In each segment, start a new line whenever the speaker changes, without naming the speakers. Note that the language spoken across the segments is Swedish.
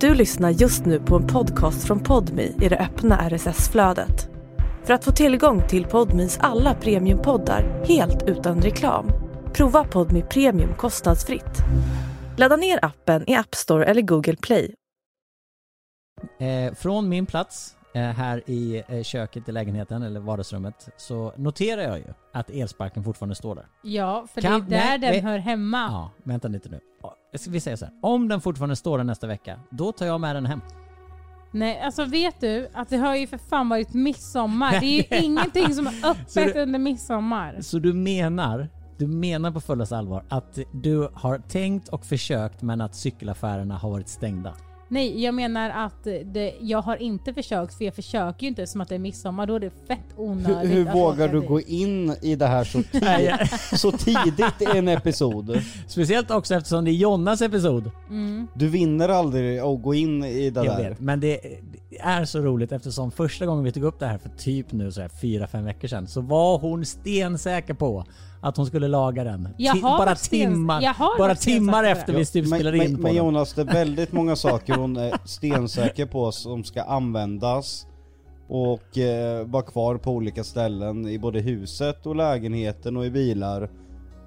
Du lyssnar just nu på en podcast från Podmi i det öppna RSS-flödet. För att få tillgång till Podmis alla premiumpoddar helt utan reklam, prova Podmi Premium kostnadsfritt. Ladda ner appen i App Store eller Google Play.
Eh, från min plats eh, här i eh, köket i lägenheten, eller vardagsrummet, så noterar jag ju att elsparken fortfarande står där.
Ja, för
Kan-
det är där
nej,
den
nej.
hör hemma.
Ja, vänta lite nu. Ja, ska Vi säger så här. om den fortfarande står där nästa vecka, då tar jag med den hem.
Nej, alltså vet du att det har ju för fan varit midsommar. Det är ju ingenting som är
Så
öppet
du-
under midsommar.
Så du menar, du menar på fullaste allvar att du har tänkt och försökt men att cykelaffärerna har varit stängda?
Nej, jag menar att det, jag har inte försökt för jag försöker ju inte som att det är midsommar. Då är det fett
Hur,
onödigt.
hur
att
vågar
åka
du
dit.
gå in i det här så, tid, så tidigt i en episod?
Speciellt också eftersom det är Jonnas episod.
Du vinner aldrig att gå in i det
Jag
där.
vet, men det det är så roligt eftersom första gången vi tog upp det här för typ nu så här fyra, fem veckor sedan så var hon stensäker på att hon skulle laga den.
Jag
Ti-
har
bara
varit stens-
timmar,
jag har
bara
varit
timmar
stensäker på
efter
det.
vi typ
men,
spelade in
men,
på
men
den.
Jonas, det är väldigt många saker hon är stensäker på som ska användas och eh, vara kvar på olika ställen i både huset och lägenheten och i bilar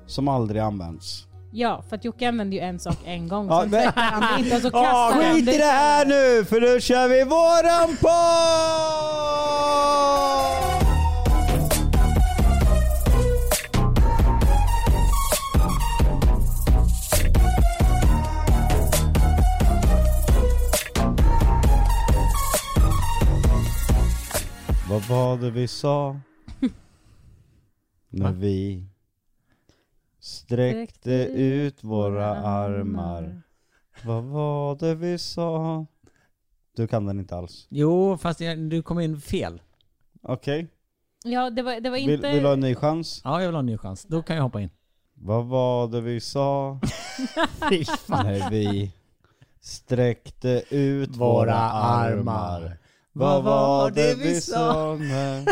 som aldrig används.
Ja, för att Jocke använde ju en sak en gång.
Ja,
sen
men-
släppte han det inte och så
Ah,
kastade han
skit i det här nu för nu kör vi våran podd! Vad var det vi sa? När
Va?
vi sträckte ut våra armar vad var det vi sa? Du kan den inte alls.
Jo, fast jag, du kom in fel.
Okej,
Ja, det var, det var
vill,
inte...
vill du ha en ny chans?
Ja, jag vill ha en ny chans. Då kan jag hoppa in.
Vad var det vi sa? När vi sträckte ut våra, armar. Vad var det vi sa? Eh. när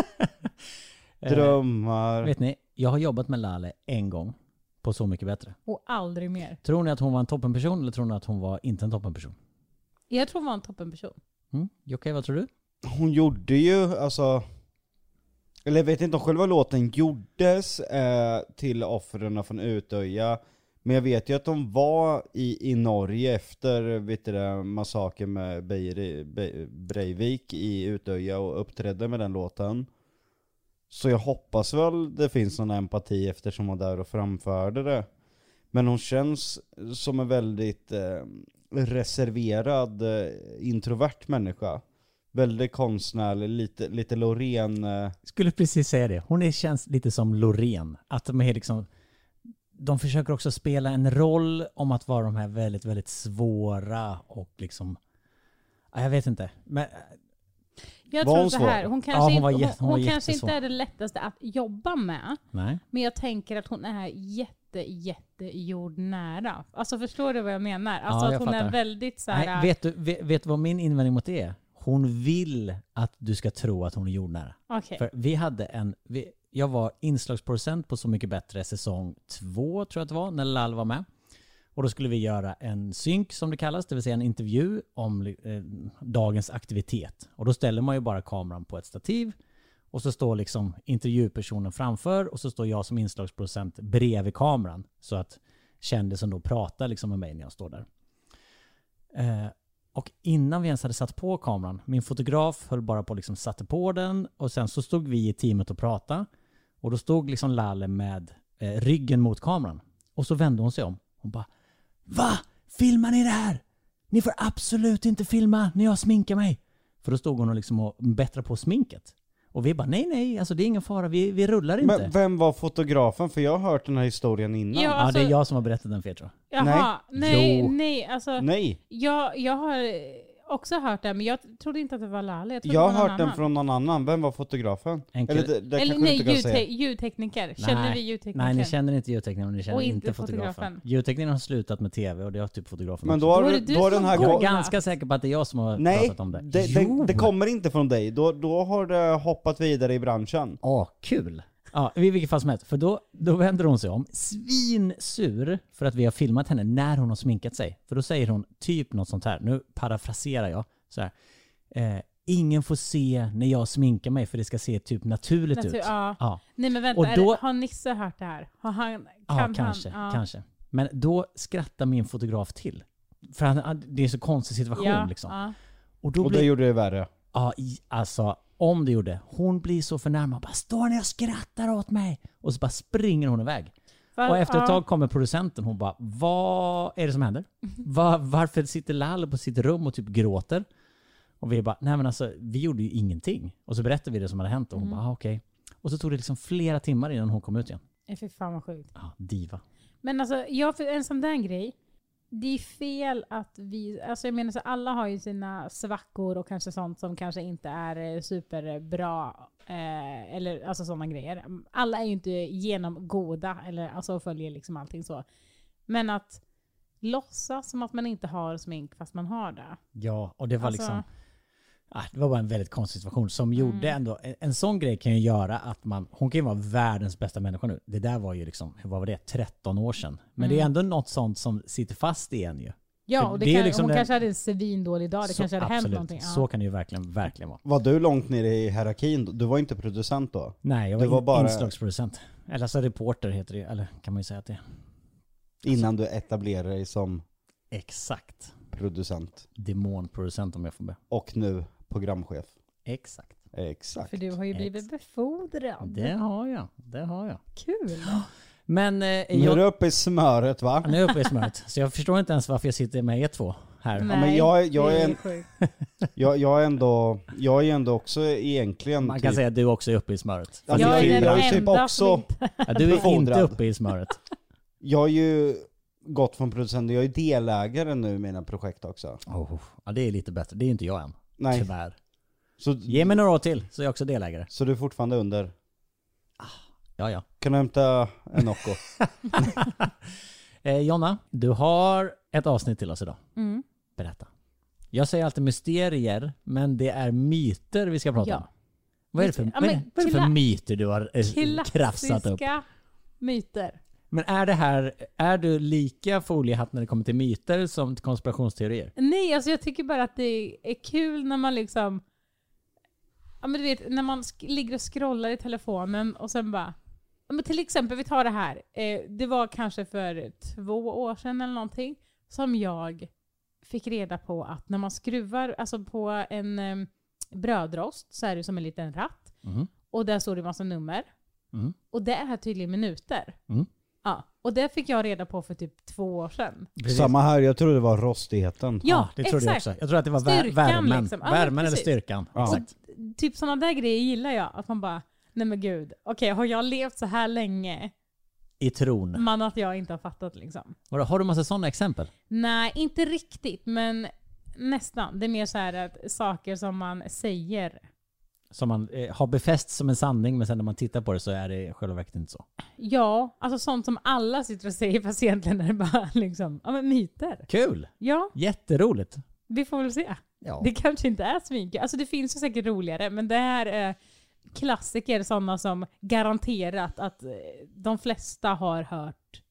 Drömmar.
Vet ni, jag har jobbat med Lale en gång på Så Mycket Bättre.
Och aldrig mer.
Tror ni att hon var en toppenperson eller tror ni att hon var inte en toppenperson?
Jag tror hon var en toppenperson.
Mm? Jocke, vad tror du?
Hon gjorde ju, alltså... Eller jag vet inte om själva låten gjordes eh, till offren från Utöja. Men jag vet ju att de var i, i Norge efter vet du, det, massakern med Beiri, Be, Breivik i Utöja och uppträdde med den låten. Så jag hoppas väl det finns någon empati eftersom hon var där och framförde det. Men hon känns som en väldigt eh, reserverad, eh, introvert människa. Väldigt konstnärlig, lite, lite Loreen. eh,
Skulle precis säga det. Hon är, känns lite som Loreen. Att de är liksom... De försöker också spela en roll om att vara de här väldigt, väldigt svåra och liksom... Ja, Jag vet inte. Men
Jag
Var
tror
hon
så här,
svår?
hon
Ja, hon
kanske,
var
inte,
jätte- hon
hon,
var
hon kanske inte
jättesvår.
är det lättaste att jobba med.
nej.
Men jag tänker att hon är jätte, jätte jordnära. Alltså förstår du vad jag menar? Alltså
Ja, jag
att hon
fattar.
är väldigt så här...
nej vet, du, vet, vet du vad min invändning mot det är? Hon vill att du ska tro att hon är jordnära.
Okej.
För vi hade en... Vi, jag var inslagsproducent på Så Mycket Bättre säsong två, tror jag att det var, när Lal var med. Och då skulle vi göra en synk, som det kallas, det vill säga en intervju om eh, dagens aktivitet. Och då ställer man ju bara kameran på ett stativ och så står liksom intervjupersonen framför och så står jag som inslagsproducent bredvid kameran. Så att kändisen då pratar liksom med mig när jag står där. Eh, och innan vi ens hade satt på kameran, min fotograf höll bara på och liksom satte på den och sen så stod vi i teamet och pratade. Och då stod liksom Lalle med eh, ryggen mot kameran. Och så vände hon sig om. Hon bara Va? Filmar ni det här? Ni får absolut inte filma när jag sminkar mig. För då stod hon och liksom och bättrade på sminket. Och vi bara nej nej, alltså det är ingen fara, vi, vi rullar inte.
Men vem var fotografen? För jag har hört den här historien innan.
Ja,
ja,
alltså,
det är jag som har berättat den för er tror jag.
Jaha, nej,
Jo.
nej, alltså.
Nej,
Jag, jag har också hört det, men jag trodde inte att det var Lali. Jag, trodde
jag har
det var någon
hört den
annan.
från någon annan. Vem var fotografen?
En
Eller
kille-
det, det
Eller
kanske du
nej,
inte kan säga.
ljudte- ljudtekniker. Känner vi ljudtekniker?
Nej, ni känner inte ljudteknikern och ni känner
Och
inte
inte
fotografen.
fotografen.
Ljudteknikern har slutat med tv och det har typ fotografen
Men
också.
då har,
Då är
du-
det du
då har
som
den här...
går.
Jag är
Gå...
ganska säker på att det är jag som har
Nej,
pratat om det.
det,
Jo!
det, det kommer inte från dig. Då, då har det hoppat vidare i branschen.
Ah, kul! Ja, i vilket fall som helst. För då, då vänder hon sig om, svinsur, för att vi har filmat henne när hon har sminkat sig. För då säger hon typ något sånt här, nu parafraserar jag, så här. Eh, ingen får se när jag sminkar mig för det ska se typ naturligt
Natur-
ut.
ja.
Ja,
Nej men vänta,
Och
är
då-
det, har Nisse hört det här? Har han, kan
ja
han,
kanske,
ja.
kanske. Men då skrattar min fotograf till. För han- han, det är en så konstig situation
Ja,
liksom.
ja.
Och då
Och
blir
det gjorde det värre.
Ja, i, alltså om det gjorde. Hon blir så förnärmad. Bara, står ni och skrattar åt mig? Och så bara springer hon iväg.
Va-
Och efter ett
ja. Mhm.
tag kommer producenten. Hon bara, vad är det som händer? Va, varför sitter Lal på sitt rum och typ gråter? Och vi bara, nej men alltså vi gjorde ju ingenting. Och så berättar vi det som hade hänt och hon
Mhm.
bara, ah, okej. Och så tog det liksom flera timmar innan hon kom ut igen.
Eh, Fy fan vad sjukt.
Ja, diva.
Men alltså, jag, för en sån där grej. Det är fel att vi, alltså jag menar så alla har ju sina svackor och kanske sånt som kanske inte är eh, superbra. Eh, eller alltså sådana grejer. Alla är ju inte genomgoda eller alltså följer liksom allting så. Men att låtsas som att man inte har smink fast man har det.
Ja, och det var
Alltså-
liksom... Ah, det var bara en väldigt konstig situation som
Mm.
gjorde ändå... En, en sån grej kan ju göra att man... Hon kan ju vara världens bästa människa nu. Det där var ju liksom, vad var det, 13 år sedan. Men
Mm.
det är ändå något sånt som sitter fast i en ju.
Ja,
För
och det
det är
kan,
liksom
hon
den-
kanske hade en svindålig dag. Det
Så-
kanske hade hänt någonting. Ja.
Så kan det ju verkligen, verkligen vara.
Var du långt ner i hierarkin då? Du var inte producent då?
Nej, jag
Det
var,
var
in,
bara-
inslagsproducent. Eller alltså reporter heter det ju, eller kan man ju säga att det är.
Innan du etablerade dig som
Exakt.
producent.
Demonproducent om jag får be.
Och nu programchef.
Exakt.
Exakt.
För du har ju blivit befordrad.
Det har jag. Det har jag.
Kul!
Men eh,
Nu är
jag...
du uppe i smöret va?
Nu är jag uppe i smöret. Så jag förstår inte ens varför jag sitter med er två här.
Nej,
men jag är- jag
det
är
ju
en-
sjukt.
Jag, jag är ändå, jag är ju ändå också egentligen
Man kan
typ-
säga att du också är uppe i smöret.
Ja, men
Jag
jag,
är
jag
den
är typ
enda
också,
som inte...
Ja, du är inte
befordrad.
uppe i smöret.
jag har ju gått från producent, jag är delägare nu i mina projekt också.
Oh, ja, det är lite bättre. Det är inte jag än.
Nej,
Tyvärr.
så,
Ge mig några år till så är jag också delägare.
så du är fortfarande under.
Ja, ja.
Kan du hämta en Nocco?
Eh, Jonna, du har ett avsnitt till oss idag.
Mm.
Berätta. Jag säger alltid mysterier, men det är myter vi ska prata
Ja.
om. Vad är det för,
Ja,
vad är det,
men
vad är det för
kla-
myter du har eh, krafsat upp?
Klassiska myter.
Men är det här, är du lika foliehatt när det kommer till myter som till konspirationsteorier?
Nej, alltså jag tycker bara att det är kul när man liksom... Ja men du vet, när man sk- ligger och scrollar i telefonen och sen bara... Ja, men till exempel, vi tar det här. Eh, det var kanske för två år sedan eller någonting som jag fick reda på att när man skruvar alltså på en eh, brödrost så är det som en liten ratt.
Mhm.
Och där står det massa nummer.
Mm.
Och det är tydligen minuter.
Mm.
Ja, och det fick jag reda på för typ två år sedan.
Precis.
Samma här, jag trodde det var rostigheten.
Ja,
ah, det trodde jag
exakt.
också. Jag tror att det var vär-
Styrkan
värmen.
liksom. Ja, men
Värmen eller
precis.
styrkan.
Ja.
Exakt.
Typ sådana där grejer gillar jag. Att man bara, nej men gud, okej har jag levt så här länge?
I tron.
Man att jag inte har fattat liksom.
Vadå, Har du massa sådana exempel?
Nej, inte riktigt, men nästan. Det är mer så här att saker som man säger.
Som man eh, har befäst som en sanning men sen när man tittar på det så är det i själva verket inte så.
Ja, alltså sånt som alla sitter och säger fast egentligen är det bara liksom, ja men myter.
Kul!
Ja,
Jätteroligt!
vi får väl se.
Ja.
Det kanske inte är sminkigt. Alltså det finns ju säkert roligare, men det här är klassiker, sådana som garanterat att eh, de flesta har hört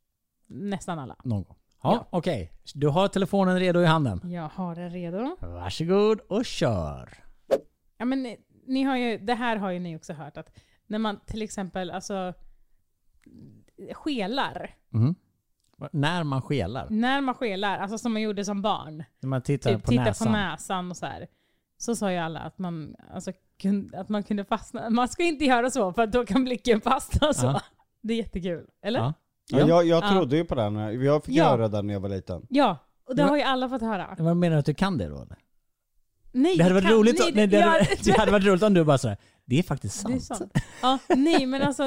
nästan alla.
Någon gång. Ja, okej. Du har telefonen redo i handen.
Jag har den redo.
Varsågod och kör!
Ja, men ni, ni har ju, det här har ju ni också hört, att när man till exempel alltså, skelar,
Mhm. Va- När man skelar.
när man skelar, alltså som man gjorde som barn,
När man tittar
typ
på
titta
näsan.
på näsan och så här. Så sa ju alla att man, alltså, kun, att man kunde fastna. Man ska inte göra så för att då kan blicken fastna så.
Ja.
Det är jättekul, eller?
Ja.
Ja,
Ja.
Ja.
jag, jag trodde ju på den, här. jag fick
Ja.
höra den när jag var liten.
Ja, och
Det
det
var-
har ju alla fått höra.
Vad menar du att du kan det då? eller?
Nej,
Det hade varit
kan-
roligt, om- nej, det hade,
ja,
det hade varit roligt om du bara sådär, det är faktiskt sant.
det är sant. Ja, nej, men alltså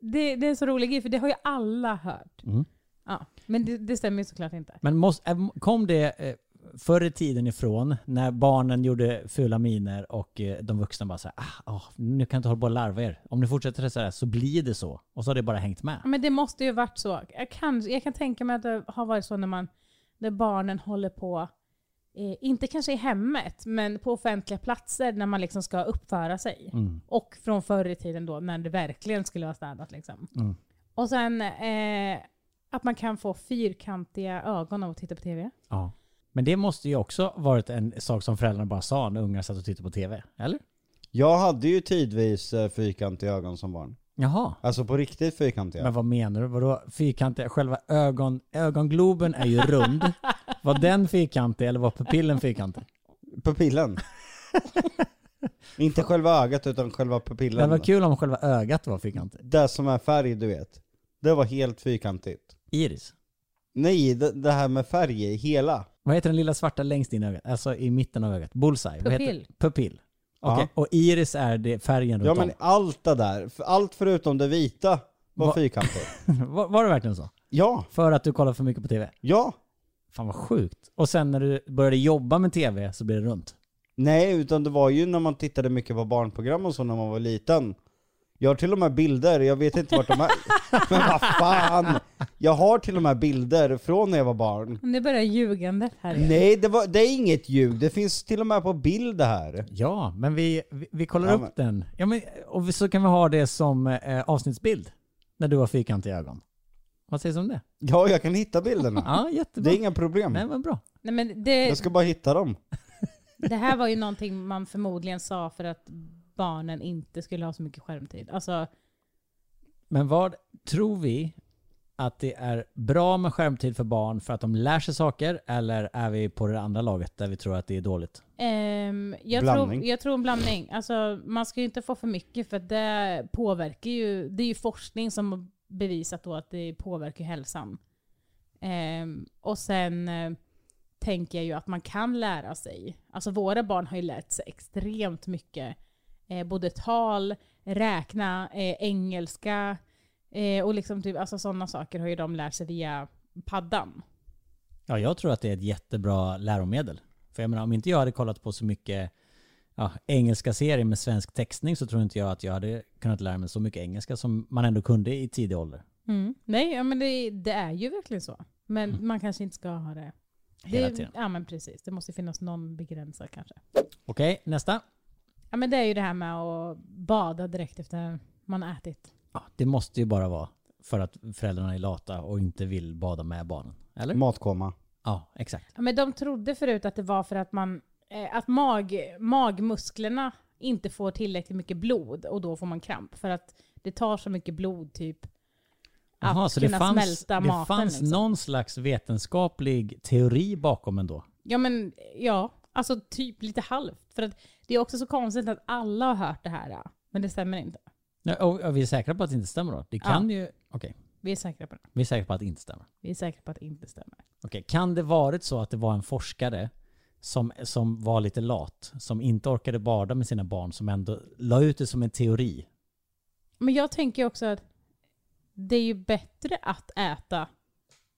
det, det är en så rolig grej, för det har ju alla hört.
Mm.
Ja, men det, det stämmer ju såklart inte.
Men måste, äh, kom det eh, förr i tiden ifrån när barnen gjorde fula miner och eh, de vuxna bara såhär, ah, ah, nu kan jag inte hålla på och larva er. Om ni fortsätter sådär så blir det så. Och så har det bara hängt med.
Ja, Men det måste ju varit så. Jag kan, jag kan tänka mig att det har varit så när man när barnen håller på eh, inte kanske i hemmet, men på offentliga platser när man liksom ska uppföra sig.
Mm.
Och från förr i tiden då när det verkligen skulle vara städat. Liksom.
Mm.
Och sen eh, att man kan få fyrkantiga ögon av att titta på TV.
Ja. Men det måste ju också varit en sak som föräldrarna bara sa när ungar satt och tittade på TV, eller?
Jag hade ju tidvis eh, fyrkantiga ögon som barn.
Jaha.
Alltså på riktigt fyrkantiga.
Men vad menar du? Vadå fyrkantiga? Själva ögon, ögongloben är ju rund. Var den fyrkantig eller var pupillen fyrkantig?
Pupillen. Inte själva ögat utan själva
Det
pupillen.
var kul om själva ögat var fyrkantigt.
Det som är färg du vet. Det var helt fyrkantigt.
Iris.
Nej, det, det här med färg i hela.
Vad heter den lilla svarta längst in i ögat? Alltså i mitten av ögat? Bullseye? Vad heter-
Pupill.
Pupill. Okej,
Ja.
och iris är det färgen runt
Ja men allt det där, f- allt förutom det vita var
Va-
fyrkantigt.
om. Var, var det verkligen så?
Ja,
För att du kollar för mycket på TV?
ja.
Fan vad sjukt. Och sen när du började jobba med TV så blev det runt.
Nej, utan det var ju när man tittade mycket på barnprogram och så när man var liten. Jag har till och med bilder, jag vet inte vart de är. Men vad fan! Jag har till och med bilder från när jag var barn.
Nu börjar ljugandet här igen.
Nej, det, var, det är inget ljug. Det finns till och med på bild det här.
Ja, men vi, vi, vi kollar
Ja,
upp den. Ja, men, och vi- så kan vi ha det som eh, avsnittsbild. När du har fyrkantiga ögon. Vad sägs om det?
Ja, jag kan hitta bilderna.
Ja, jättebra.
Det är inga problem.
Nej, men bra.
Nej, men det,
Jag ska bara hitta dem.
det här var ju någonting man förmodligen sa för att barnen inte skulle ha så mycket skärmtid. Alltså,
Men vad tror vi att det är bra med skärmtid för barn för att de lär sig saker eller är vi på det andra laget där vi tror att det är dåligt?
ehm, jag,
Blandning.
tror, jag tror en blandning. Alltså, man ska ju inte få för mycket för att det påverkar ju, det är ju forskning som har bevisat då att det påverkar hälsan. Ehm, och sen eh, tänker jag ju att man kan lära sig. Alltså våra barn har ju lärt sig extremt mycket. Eh, både tal, räkna, eh, engelska eh, och liksom typ, alltså sådana saker har ju de lärt sig via paddan.
Ja, jag tror att det är ett jättebra läromedel. För jag menar, om inte jag hade kollat på så mycket ja, engelska serier med svensk textning så tror inte jag att jag hade kunnat lära mig så mycket engelska som man ändå kunde i tidig ålder.
Nej, ja, men det, det är ju verkligen så. Men man kanske inte ska ha det.
Mm. Hela
det
tiden.
ja men precis, det måste ju finnas någon begränsad kanske.
Okej, nästa.
Ja men det är ju det här med att bada direkt efter man har ätit.
Ja, det måste ju bara vara för att föräldrarna är lata och inte vill bada med barnen. Eller?
Matkoma.
Ja, exakt.
Ja, men de trodde förut att det var för att, man, eh, att mag, magmusklerna inte får tillräckligt mycket blod och då får man kramp. För att det tar så mycket blod typ att
Jaha, så det
kunna
fanns,
smälta
det
maten.
fanns
liksom.
någon slags vetenskaplig teori bakom ändå.
Ja men ja, alltså typ lite halvt. För att det är också så konstigt att alla har hört det här. ja. Men det stämmer inte.
Nej, och, och vi är säkra på att det inte stämmer då? Det kan ju... Okej,
Vi är säkra på det.
vi är säkra på att det inte stämmer.
Vi är säkra på att det inte stämmer.
Okej, kan det varit så att det var en forskare som, som var lite lat, som inte orkade bada med sina barn, som ändå la ut det som en teori?
Men jag tänker också att det är ju bättre att äta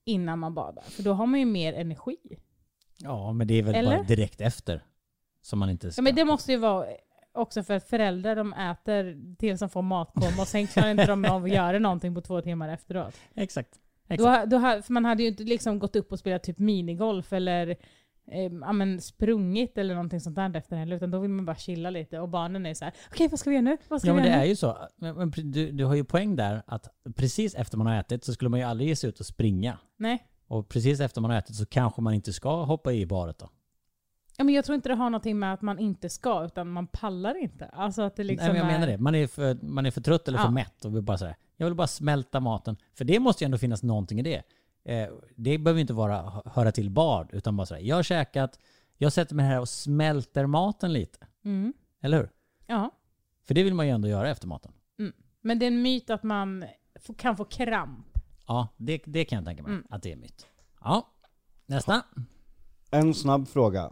innan man badar. För då har man ju mer energi.
Ja, men det är väl bara
Eller?
direkt efter som man inte ska...
Ja, men det måste ju vara också för att föräldrar de äter tills de får matkomma och sen klarar inte de av att göra någonting på två timmar efteråt.
Exakt.
Då,
exakt.
ha- då, ha- för man hade ju inte liksom gått upp och spelat typ minigolf eller eh, ja, men sprungit eller någonting sånt där efter heller. Utan då vill man bara chilla lite och barnen är så här: okej vad ska vi göra nu? Vad ska
Ja
vi
men det
göra
är
nu?
ju så. Men, men du, du har ju poäng där att precis efter man har ätit så skulle man ju aldrig ge sig ut och springa.
Nej.
Och precis efter man har ätit så kanske man inte ska hoppa i badet då.
Ja, men jag tror inte det har någonting med att man inte ska, utan man pallar inte. Alltså att det liksom
Nej, men jag
är...
menar det. Man är för, man är för trött eller för
Ja.
mätt och vill bara säga jag vill bara smälta maten. För det måste ju ändå finnas någonting i det. Eh, det behöver ju inte vara hö- höra till bad, utan bara sådär, jag har käkat, jag sätter mig här och smälter maten lite.
Mm.
Eller hur?
Ja.
För det vill man ju ändå göra efter maten.
Men det är en myt att man f- kan få kramp.
Ja, det, det kan jag tänka mig
Mm.
att det är en myt. Ja, nästa.
En snabb fråga.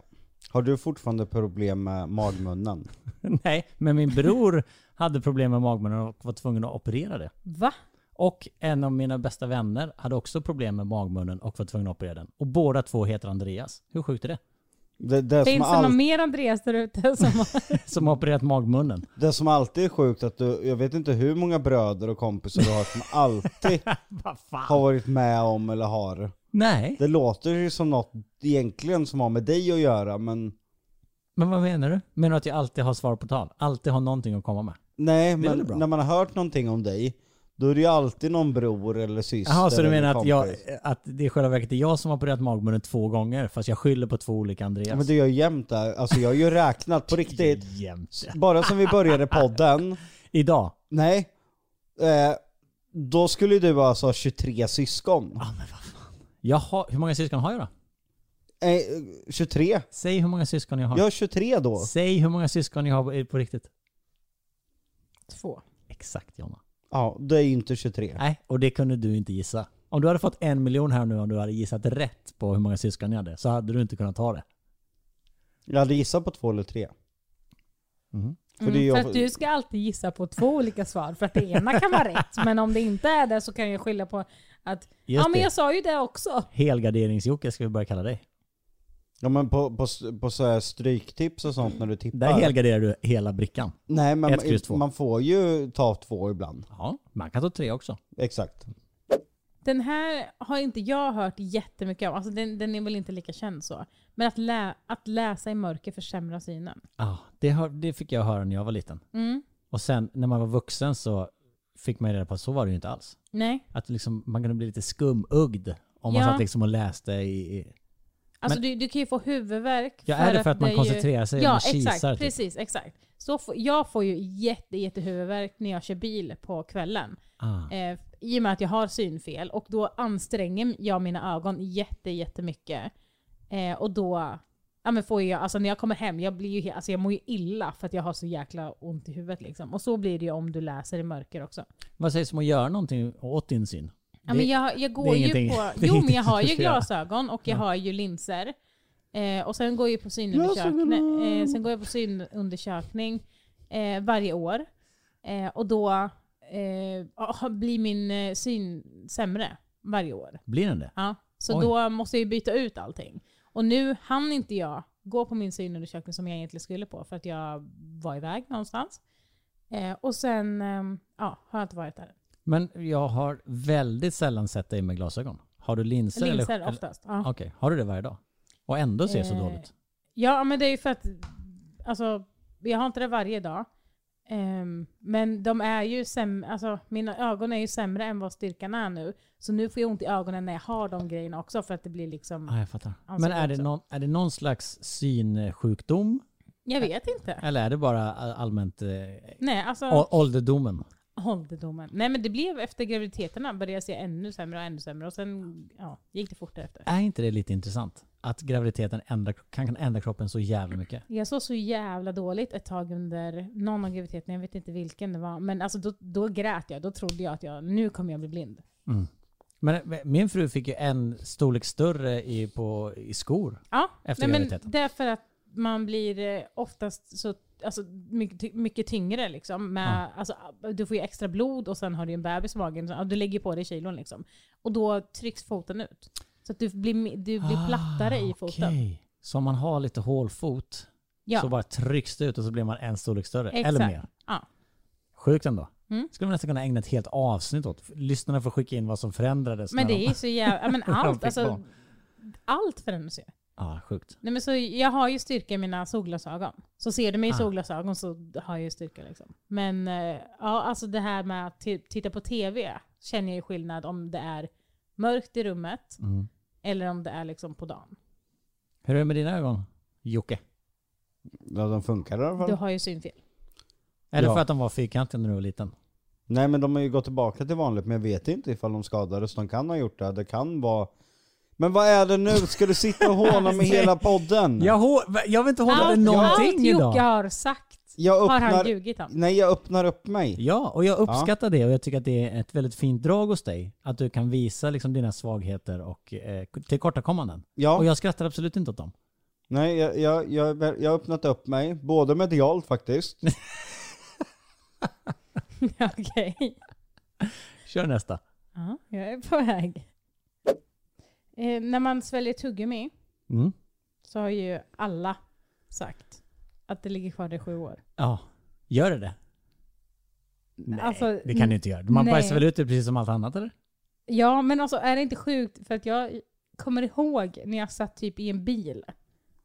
Har du fortfarande problem med magmunnen?
Nej, men min bror hade problem med magmunnen och var tvungen att operera det.
Va?
Och en av mina bästa vänner hade också problem med magmunnen och var tvungen att operera den. Och båda två heter Andreas. Hur sjukt är det?
Det, det, som
Finns det någon
all,
mer Andreas där ute som har...
Som har opererat magmunnen.
det som alltid är sjukt att du, jag vet inte hur många bröder och kompisar du har som alltid
Vad
har
fan?
varit med om eller har.
Nej,
Det låter ju som något egentligen som har med dig att göra men
men vad menar du? Menar du att jag alltid har svar på tal? Alltid har någonting att komma med?
nej men
väl bra.
när man har hört någonting om dig då är det ju alltid någon bror eller syster
Jaha, så du
eller
menar att,
kompis.
jag, att det i själva verket är jag som har opererat magmunnen två gånger fast jag skyller på två olika Andreas?
Ja, men det gör jag jämt där. Alltså jag har ju räknat på riktigt.
Jämt.
Bara som vi började podden,
Idag?
nej. Eh, då skulle du alltså ha 23 syskon.
Jag har, hur många syskon har jag då?
Eh, 23?
Säg hur många syskon jag har.
Jag har 23 då.
Säg hur många syskon jag har på, på riktigt.
Två.
Exakt Jonna.
Ja, det är ju inte 23.
Nej, och det kunde du inte gissa. Om du hade fått en miljon här nu om du hade gissat rätt på hur många syskon jag hade så hade du inte kunnat ta det.
Jag hade gissat på två eller tre.
Mhm.
För det är
Mm,
jag-
för att du ska alltid gissa på två olika svar, för att det ena kan vara rätt. Men om det inte är det så kan jag skylla på att
Just
ja men
det.
jag sa ju det också.
Helgarderingsjocke ska vi börja kalla dig.
Ja men på, på, på så här stryktips och sånt när du tippar.
Där helgarderar du hela brickan.
Nej men
Ett kryss två.
man får ju ta två ibland.
Ja, man kan ta tre också.
Exakt.
Den här har inte jag hört jättemycket om, alltså den, den är väl inte lika känd så. Men att, lä, att läsa i mörker försämrar synen.
Ah, det, hör, det fick jag höra när jag var liten.
Mm.
Och sen när man var vuxen så fick man ju reda på att så var det ju inte alls.
Nej.
Att liksom, man kunde bli lite skumugd om man
Ja.
satt liksom och läste i... i
Alltså
Men-
du, du kan ju få huvudvärk.
ja, är det för att man
är ju-
koncentrerar sig?
Ja
man kisar,
exakt,
typ?
precis. Exakt. Så får- jag får ju jätte, jätte huvudvärk när jag kör bil på kvällen.
Ah.
Eh, I och med att jag har synfel och då anstränger jag mina ögon jätte, jättemycket. Eh, och då ja, men får jag, alltså när jag kommer hem, jag, blir ju, he- alltså jag mår ju illa för att jag har så jäkla ont i huvudet. Liksom. Och så blir det ju om du läser i mörker också.
Vad sägs om att göra någonting åt din syn?
Ja,
Det-
men jag, jag
det är
går ju
ingenting-
på,
det är
jo men
ingenting
jag har
du
ju
ska göra.
glasögon och jag har ju linser. Eh, och sen går jag ju på synundersökning,
Glasögonen.
eh, sen går jag på synundersökning eh, varje år. Eh, och då eh, ah, blir min eh, syn sämre varje år.
Blir den det?
Ja, så
Oj.
då måste jag ju byta ut allting. Och nu hann inte jag gå på min synundersökning som jag egentligen skulle på för att jag var iväg någonstans. Eh, och sen ehm, ja, har jag inte varit där.
Men jag har väldigt sällan sett dig med glasögon. Har du linser? eller-
Linser
eller-
oftast. Ja.
Okej, har du det varje dag? Och ändå ser så
Eh,
dåligt?
ja, men det är ju för att alltså, jag har inte det varje dag. Ehm, men de är ju sämre, alltså, mina ögon är ju sämre än vad styrkan är nu. Så nu får jag ont i ögonen när jag har de grejerna också för att det blir liksom,
Ja, ah, jag fattar.
Ansiktet
Men är det,
också.
någon, är det någon slags synsjukdom?
jag vet inte.
Eller är det bara all- allmänt eh,
Nej, alltså,
å- ålderdomen?
Ålderdomen. Nej men det blev efter graviditeterna började jag se ännu sämre och ännu sämre och sen ja, gick det fort därefter.
Är inte det lite intressant? Att graviditeten ändrar, kan, kan ändra kroppen så jävla mycket.
Jag såg så jävla dåligt ett tag under någon av graviditeterna, jag vet inte vilken det var. Men alltså då, då grät jag, då trodde jag att jag, nu kommer jag bli blind.
Men men min fru fick ju en storlek större i, på, i skor.
Ja,
Efter
nej, men
graviditeten.
det är för att man blir eh, oftast så alltså, mycket, ty- mycket tyngre. Liksom, med, alltså, du får ju extra blod och sen har du ju en bebis i magen. Så, ja, du lägger på dig kilon liksom. Och då trycks foten ut. Så att du blir, mi- du blir plattare i foten.
Ah, Okej. Så om man har lite hålfot
Ja.
så bara trycks det ut och så blir man en storlek större.
Exakt.
Eller mer.
Ja.
Sjukt ändå.
Mm.
Skulle man nästan kunna ägna ett helt avsnitt åt. Lyssnarna får skicka in vad som förändrades.
Men
när
det är
de...
ju så jävla... ja, Men
när de
allt,
fick
alltså,
barn.
allt förändras ju.
Ja, sjukt.
Nej, men så jag har ju styrka i mina solglasögon. Så ser du mig i
Ah.
solglasögon så har jag ju styrka. Liksom. Men eh, ja, alltså det här med att ti- titta på TV känner jag ju skillnad om det är mörkt i rummet
Mm.
eller om det är liksom på dagen.
Hur är det med dina ögon, Jocke?
Ja de funkar i alla fall.
Du har ju synfel.
Är det
Ja.
för att de var fyrkantiga när du var liten?
Nej men de har ju gått tillbaka till vanligt men jag vet inte ifall de skadades. De kan ha gjort det. Det kan vara... Men vad är det nu? Ska du sitta och håna med hela podden?
Jag, hå- jag vill inte hålla dig
allt allt
någonting
Jocke
idag.
har sagt
Jag
har han
öppnar...
ljugit om.
Nej jag öppnar upp mig.
Ja, och jag uppskattar det och jag tycker att det är ett väldigt fint drag hos dig. Att du kan visa liksom dina svagheter och eh, tillkortakommanden. Och
Ja,
jag skrattar absolut inte åt dem.
nej jag, jag, jag, jag har öppnat upp mig. Både medialt faktiskt.
Okej.
Kör nästa.
Ja, jag är på väg. Eh, när man sväljer tuggummi
Mm.
så har ju alla sagt att det ligger kvar där i sju år.
Ja. Gör det det? Nej,
Alltså,
det kan du inte göra. Man
nej.
bajsar väl ut det precis som allt annat eller?
Ja, men alltså är det inte sjukt? För att jag kommer ihåg när jag satt typ i en bil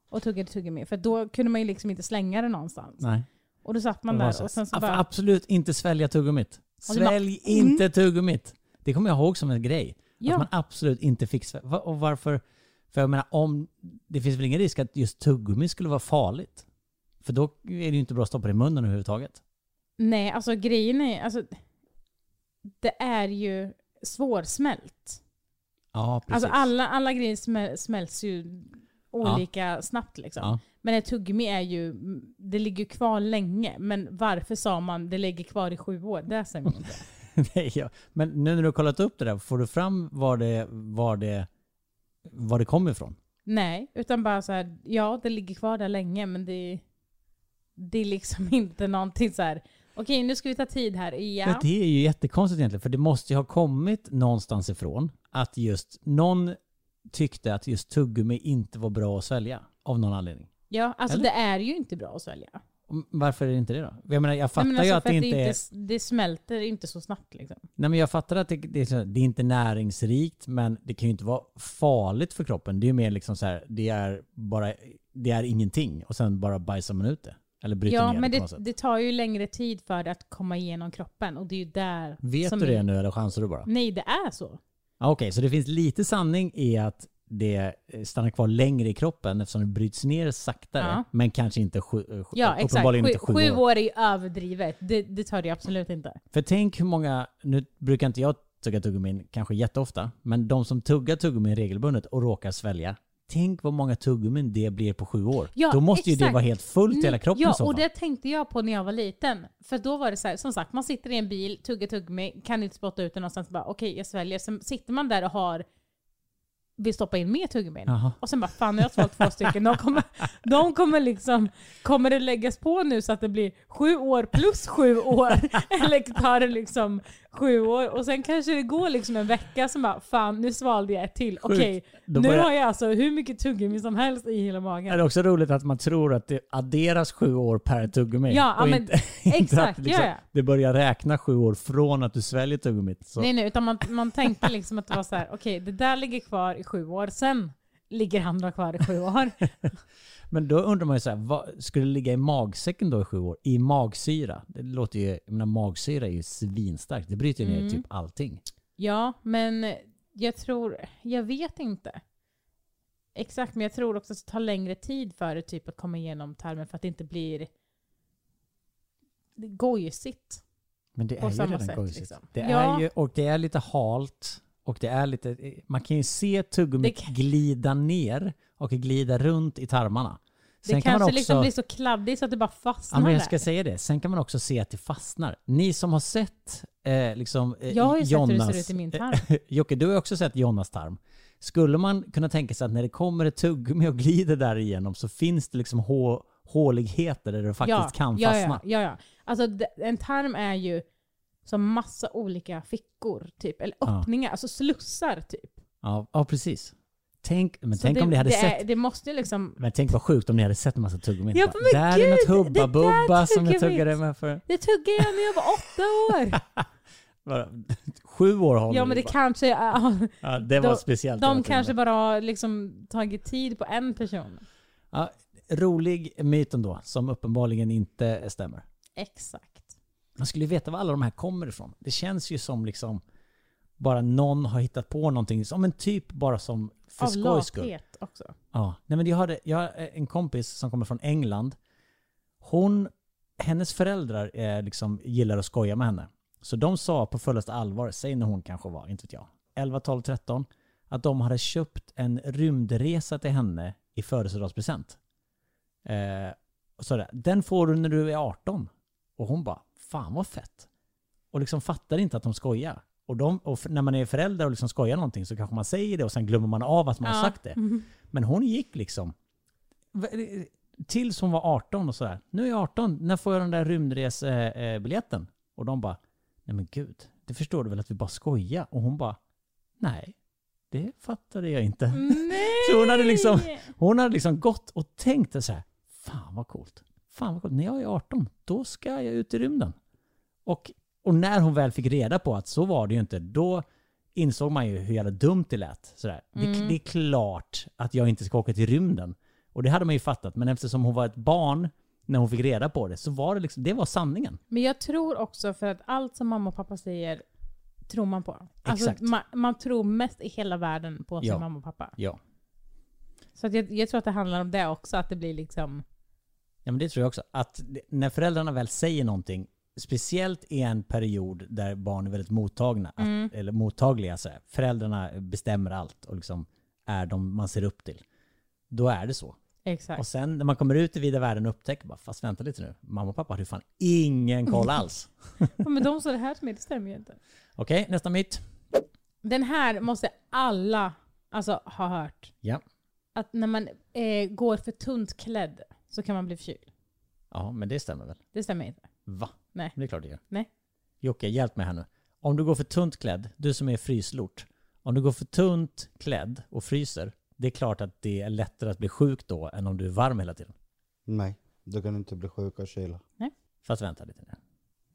och tuggade tuggummi. För då kunde man ju liksom inte slänga det någonstans.
Nej.
Och då satt man
Det var
där
så.
och sen så
Ja,
bara...
får Absolut inte svälja tuggummit.
Och så bara, Mm.
Svälj inte tuggummit. Det kommer jag ihåg som en grej. Att
Ja,
alltså, man absolut inte fick svälja. Va- Och varför? För jag menar, om, det finns väl ingen risk att just tuggummi skulle vara farligt? För då är det ju inte bra att stoppa det i munnen överhuvudtaget.
nej alltså grejen är alltså, Det är ju svårsmält.
Ja, precis.
Alltså alla, alla grejer smäl, smälts ju olika snabbt liksom.
Ja.
Men ett tuggummi är ju, det ligger ju kvar länge. Men varför sa man det ligger kvar i sju år? Det säger man inte.
Nej, ja. Men nu när du har kollat upp det där, får du fram var det, var det, var det kom ifrån?
Nej, utan bara så här, ja det ligger kvar där länge men det, det är liksom inte någonting så här. okej nu ska vi ta tid här. Ja.
Det är ju jättekonstigt egentligen, för det måste ju ha kommit någonstans ifrån att just någon tyckte att just tuggummi inte var bra att svälja av någon anledning.
ja, alltså
Eller?
det är ju inte bra att svälja.
Och Varför är det inte det då? Jag menar, jag
Nej,
fattar
men
ju
alltså
att
för
det inte är...
är... Det smälter inte så snabbt liksom.
Nej men jag fattar att det, det, är så, det är inte näringsrikt, men det kan ju inte vara farligt för kroppen. Det är ju mer liksom så här, det är bara, det är ingenting och sen bara bajsar man ut det. Eller bryter
Ja,
ner
men
det på något
det,
sätt.
det tar ju längre tid för det att komma igenom kroppen och det är ju där
Vet
som
du
är-
det nu eller chansar du bara?
Nej, det är så.
Ja, Okej, så det finns lite sanning i att det eh, stannar kvar längre i kroppen eftersom det bryts ner saktare.
Ja.
Men kanske inte sju, eh, sju,
Ja, exakt.
uppenbarligen
Sju,
inte sju, år.
är ju överdrivet. Det, det tar det absolut inte.
För tänk hur många, nu brukar inte jag tugga tuggummin kanske jätteofta, men de som tuggar tuggummin regelbundet och råkar svälja, tänk vad många tuggummin det blir på sju år.
Ja,
Då måste ju det
exakt.
vara helt fullt i hela
Mm,
kroppen i
Ja,
så
och
fall.
det tänkte jag på när jag var liten. För då var det så här, som sagt, man sitter i en bil, tuggar tuggummi, kan inte spotta ut det någonstans. Bara, Okej, jag sväljer. Sen sitter man där och har vill stoppa in mer tuggummin.
Jaha.
Och sen bara, fan nu har jag svalt två stycken. De kommer, de kommer liksom, kommer det läggas på nu så att det blir sju år plus sju år? Eller tar det liksom sju år? Och sen kanske det går liksom en vecka som bara, fan nu svalde jag ett till. Okej,
Då
nu
börjar-
har jag alltså hur mycket tuggummi som helst i hela
Är
magen.
det också roligt att man tror att det adderas sju år per tuggummi?
Ja, ja,
och
men-
inte, inte att
exakt,
liksom,
ja, ja.
det börjar räkna sju år från att du sväljer tuggummit. Så.
Nej, nej, utan man, man tänkte liksom att det var så här, okej det där ligger kvar i sju år, sen ligger han då kvar i sju år.
Men då undrar man ju så här, vad, skulle det ligga i magsäcken då i sju år? I magsyra? Det låter ju, jag menar magsyra är ju svinstarkt. Det bryter ju ner
Mm.
typ allting.
Ja, men jag tror, jag vet inte. Exakt, men jag tror också att det tar längre tid för det typ att komma igenom tarmen för att det inte blir gojsigt.
Men det
På
är ju
samma
redan
sätt,
gojsigt.
liksom.
Det är
Ja.
ju, och det är lite halt. Och det är lite, man kan ju se tuggummit
Det kan-
glida ner och glida runt i tarmarna.
Det
Sen kan man
kanske
också,
liksom blir så kladdigt så att det bara fastnar
Ja, men jag
där.
ska säga det. Sen kan man också se att det fastnar. Ni som har sett eh, liksom, eh,
Jag har ju sett hur det
Jonas,
ser ut i min tarm.
Jocke, du har ju också sett Jonas tarm. Skulle man kunna tänka sig att när det kommer ett tuggummi och glider där igenom så finns det liksom hå- håligheter där det faktiskt kan
ja,
fastna?
Ja, ja, ja. Alltså d- en tarm är ju som massa olika fickor typ, eller
Ja.
öppningar, alltså slussar typ.
Ja, ja, precis. Tänk, men
Så
tänk om ni hade
det
sett...
Är, det måste ju liksom
Men tänk vad sjukt om ni hade sett en massa tuggummin.
Ja,
Bara,
men
där är
gud,
något
det där
hubba-bubba som jag
tuggummit."
tuggade med för
Det tuggade jag när jag var åtta år.
bara, sju år håller
ja men det
bara.
kanske, ja,
ja, det var
de-
speciellt. hela
de
tiden.
kanske bara har liksom tagit tid på en person.
Ja, rolig myt ändå, som uppenbarligen inte stämmer.
Exakt.
Man skulle ju veta var alla de här kommer ifrån. Det känns ju som liksom bara någon har hittat på någonting. Som en typ bara som för
Av
skojs skull.
lathet också.
Ja. Nej, men jag, hade, jag har en kompis som kommer från England. Hon, hennes föräldrar eh, liksom gillar att skoja med henne. Så de sa på fullaste allvar, säg när hon kanske var, inte vet jag, 11, 12, 13, att de hade köpt en rymdresa till henne i födelsedagspresent. Eh, och sa det, den får du när du är 18. Och hon bara, fan vad fett. Och liksom fattar inte att de skojar. Och, de, och f- när man är förälder och liksom skojar någonting så kanske man säger det och sen glömmer man av att man har
Ja.
sagt det. Men hon gick liksom v- tills hon var 18 och sådär. Nu är jag 18, när får jag den där rymdresbiljetten? Och de bara, nej men gud, det förstår du väl att vi bara skojar? Och hon bara, nej, Det fattade jag inte.
Nej!
Så hon hade liksom- Hon hade liksom gått och tänkt så här. Fan vad coolt. Fan vad coolt. När jag är 18, då ska jag ut i rymden. Och, och när hon väl fick reda på att så var det ju inte, då insåg man ju hur jävla dumt det lät. Sådär. Det,
Mm.
det är klart att jag inte ska åka till rymden. Och det hade man ju fattat, men eftersom hon var ett barn när hon fick reda på det, så var det liksom, det var sanningen.
Men jag tror också för att allt som mamma och pappa säger tror man på. Alltså,
Exakt.
man, man tror mest i hela världen på sin
Ja.
mamma och pappa.
Ja.
Så att jag, jag tror att det handlar om det också, att det blir liksom...
Ja men det tror jag också. Att det- när föräldrarna väl säger någonting, speciellt i en period där barn är väldigt mottagna, att,
Mm.
eller mottagliga, så här, föräldrarna bestämmer allt och liksom är de man ser upp till. Då är det så.
Exakt.
Och sen när man kommer ut i vida världen och upptäcker bara, fast vänta lite nu, mamma och pappa hade ju fan ingen koll alls.
Ja, men de sa det här till mig, det stämmer ju inte.
Okej, nästa myt.
Den här måste alla alltså, ha hört.
Ja.
Att när man eh, går för tunt klädd så kan man bli förkyld.
Ja, men det stämmer väl?
Det stämmer inte.
Va?
Nej.
Men Det är klart det gör.
Nej.
Jocke, hjälp mig här nu. Om du går för tunt klädd, du som är fryslort. Om du går för tunt klädd och fryser, det är klart att det är lättare att bli sjuk då än om du är varm hela tiden.
Nej, då kan du inte bli sjuk av kyla.
Fast vänta lite nu.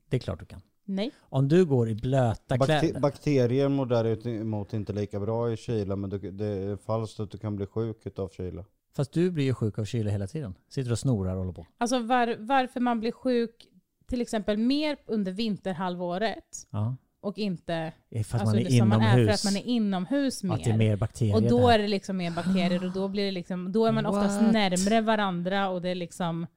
Det är klart du kan.
Nej.
Om du går i blöta
Bakte
kläder.
bakterier mår däremot inte lika bra i kyla, men du, det är falskt att du kan bli sjuk utav kyla.
Fast du blir ju sjuk av kyla hela tiden. Sitter och snorar och håller på.
Alltså var, varför man blir sjuk till exempel mer under vinterhalvåret
Ja.
och inte
Eh, Fast
alltså,
man är
det som
inomhus.
man är för att man är inomhus mer.
Att det är mer bakterier
och då
där.
är det liksom mer bakterier och då, blir det liksom, då är man oftast
What?
närmre varandra och det är liksom...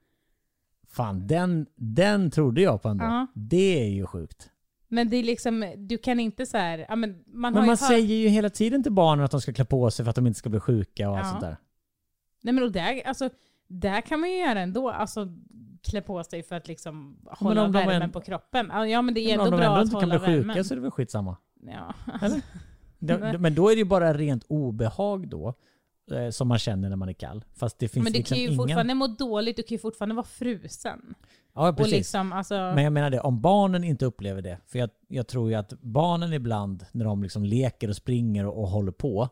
Fan, den, den trodde jag på ändå.
Ja.
Det är ju sjukt.
Men det är liksom, du kan inte så här, ja, men man har
Men
ju
man
hört,
säger ju hela tiden till barnen att de ska klä på sig för att de inte ska bli sjuka och allt
Ja.
sånt där.
Nej men och där, alltså, där kan man ju göra ändå, alltså klä på sig för att liksom hålla
om de
värmen
ändå-
på kroppen. Ja, Ja men det är
Men
ändå
om de
bra
ändå
att
inte kan
hålla
bli sjuka
värmen.
så är det väl skitsamma.
Ja.
Det-
Nej.
det- Men då är det ju bara rent obehag då. eh, Som man känner när man är kall. Fast det finns
Men du
liksom
kan ju
ingen...
fortfarande må dåligt, du kan ju fortfarande vara frusen.
Ja,
Och
precis.
liksom, alltså,
Men jag menar det, om barnen inte upplever det. För jag, jag tror ju att barnen ibland när de liksom leker och springer och, och håller på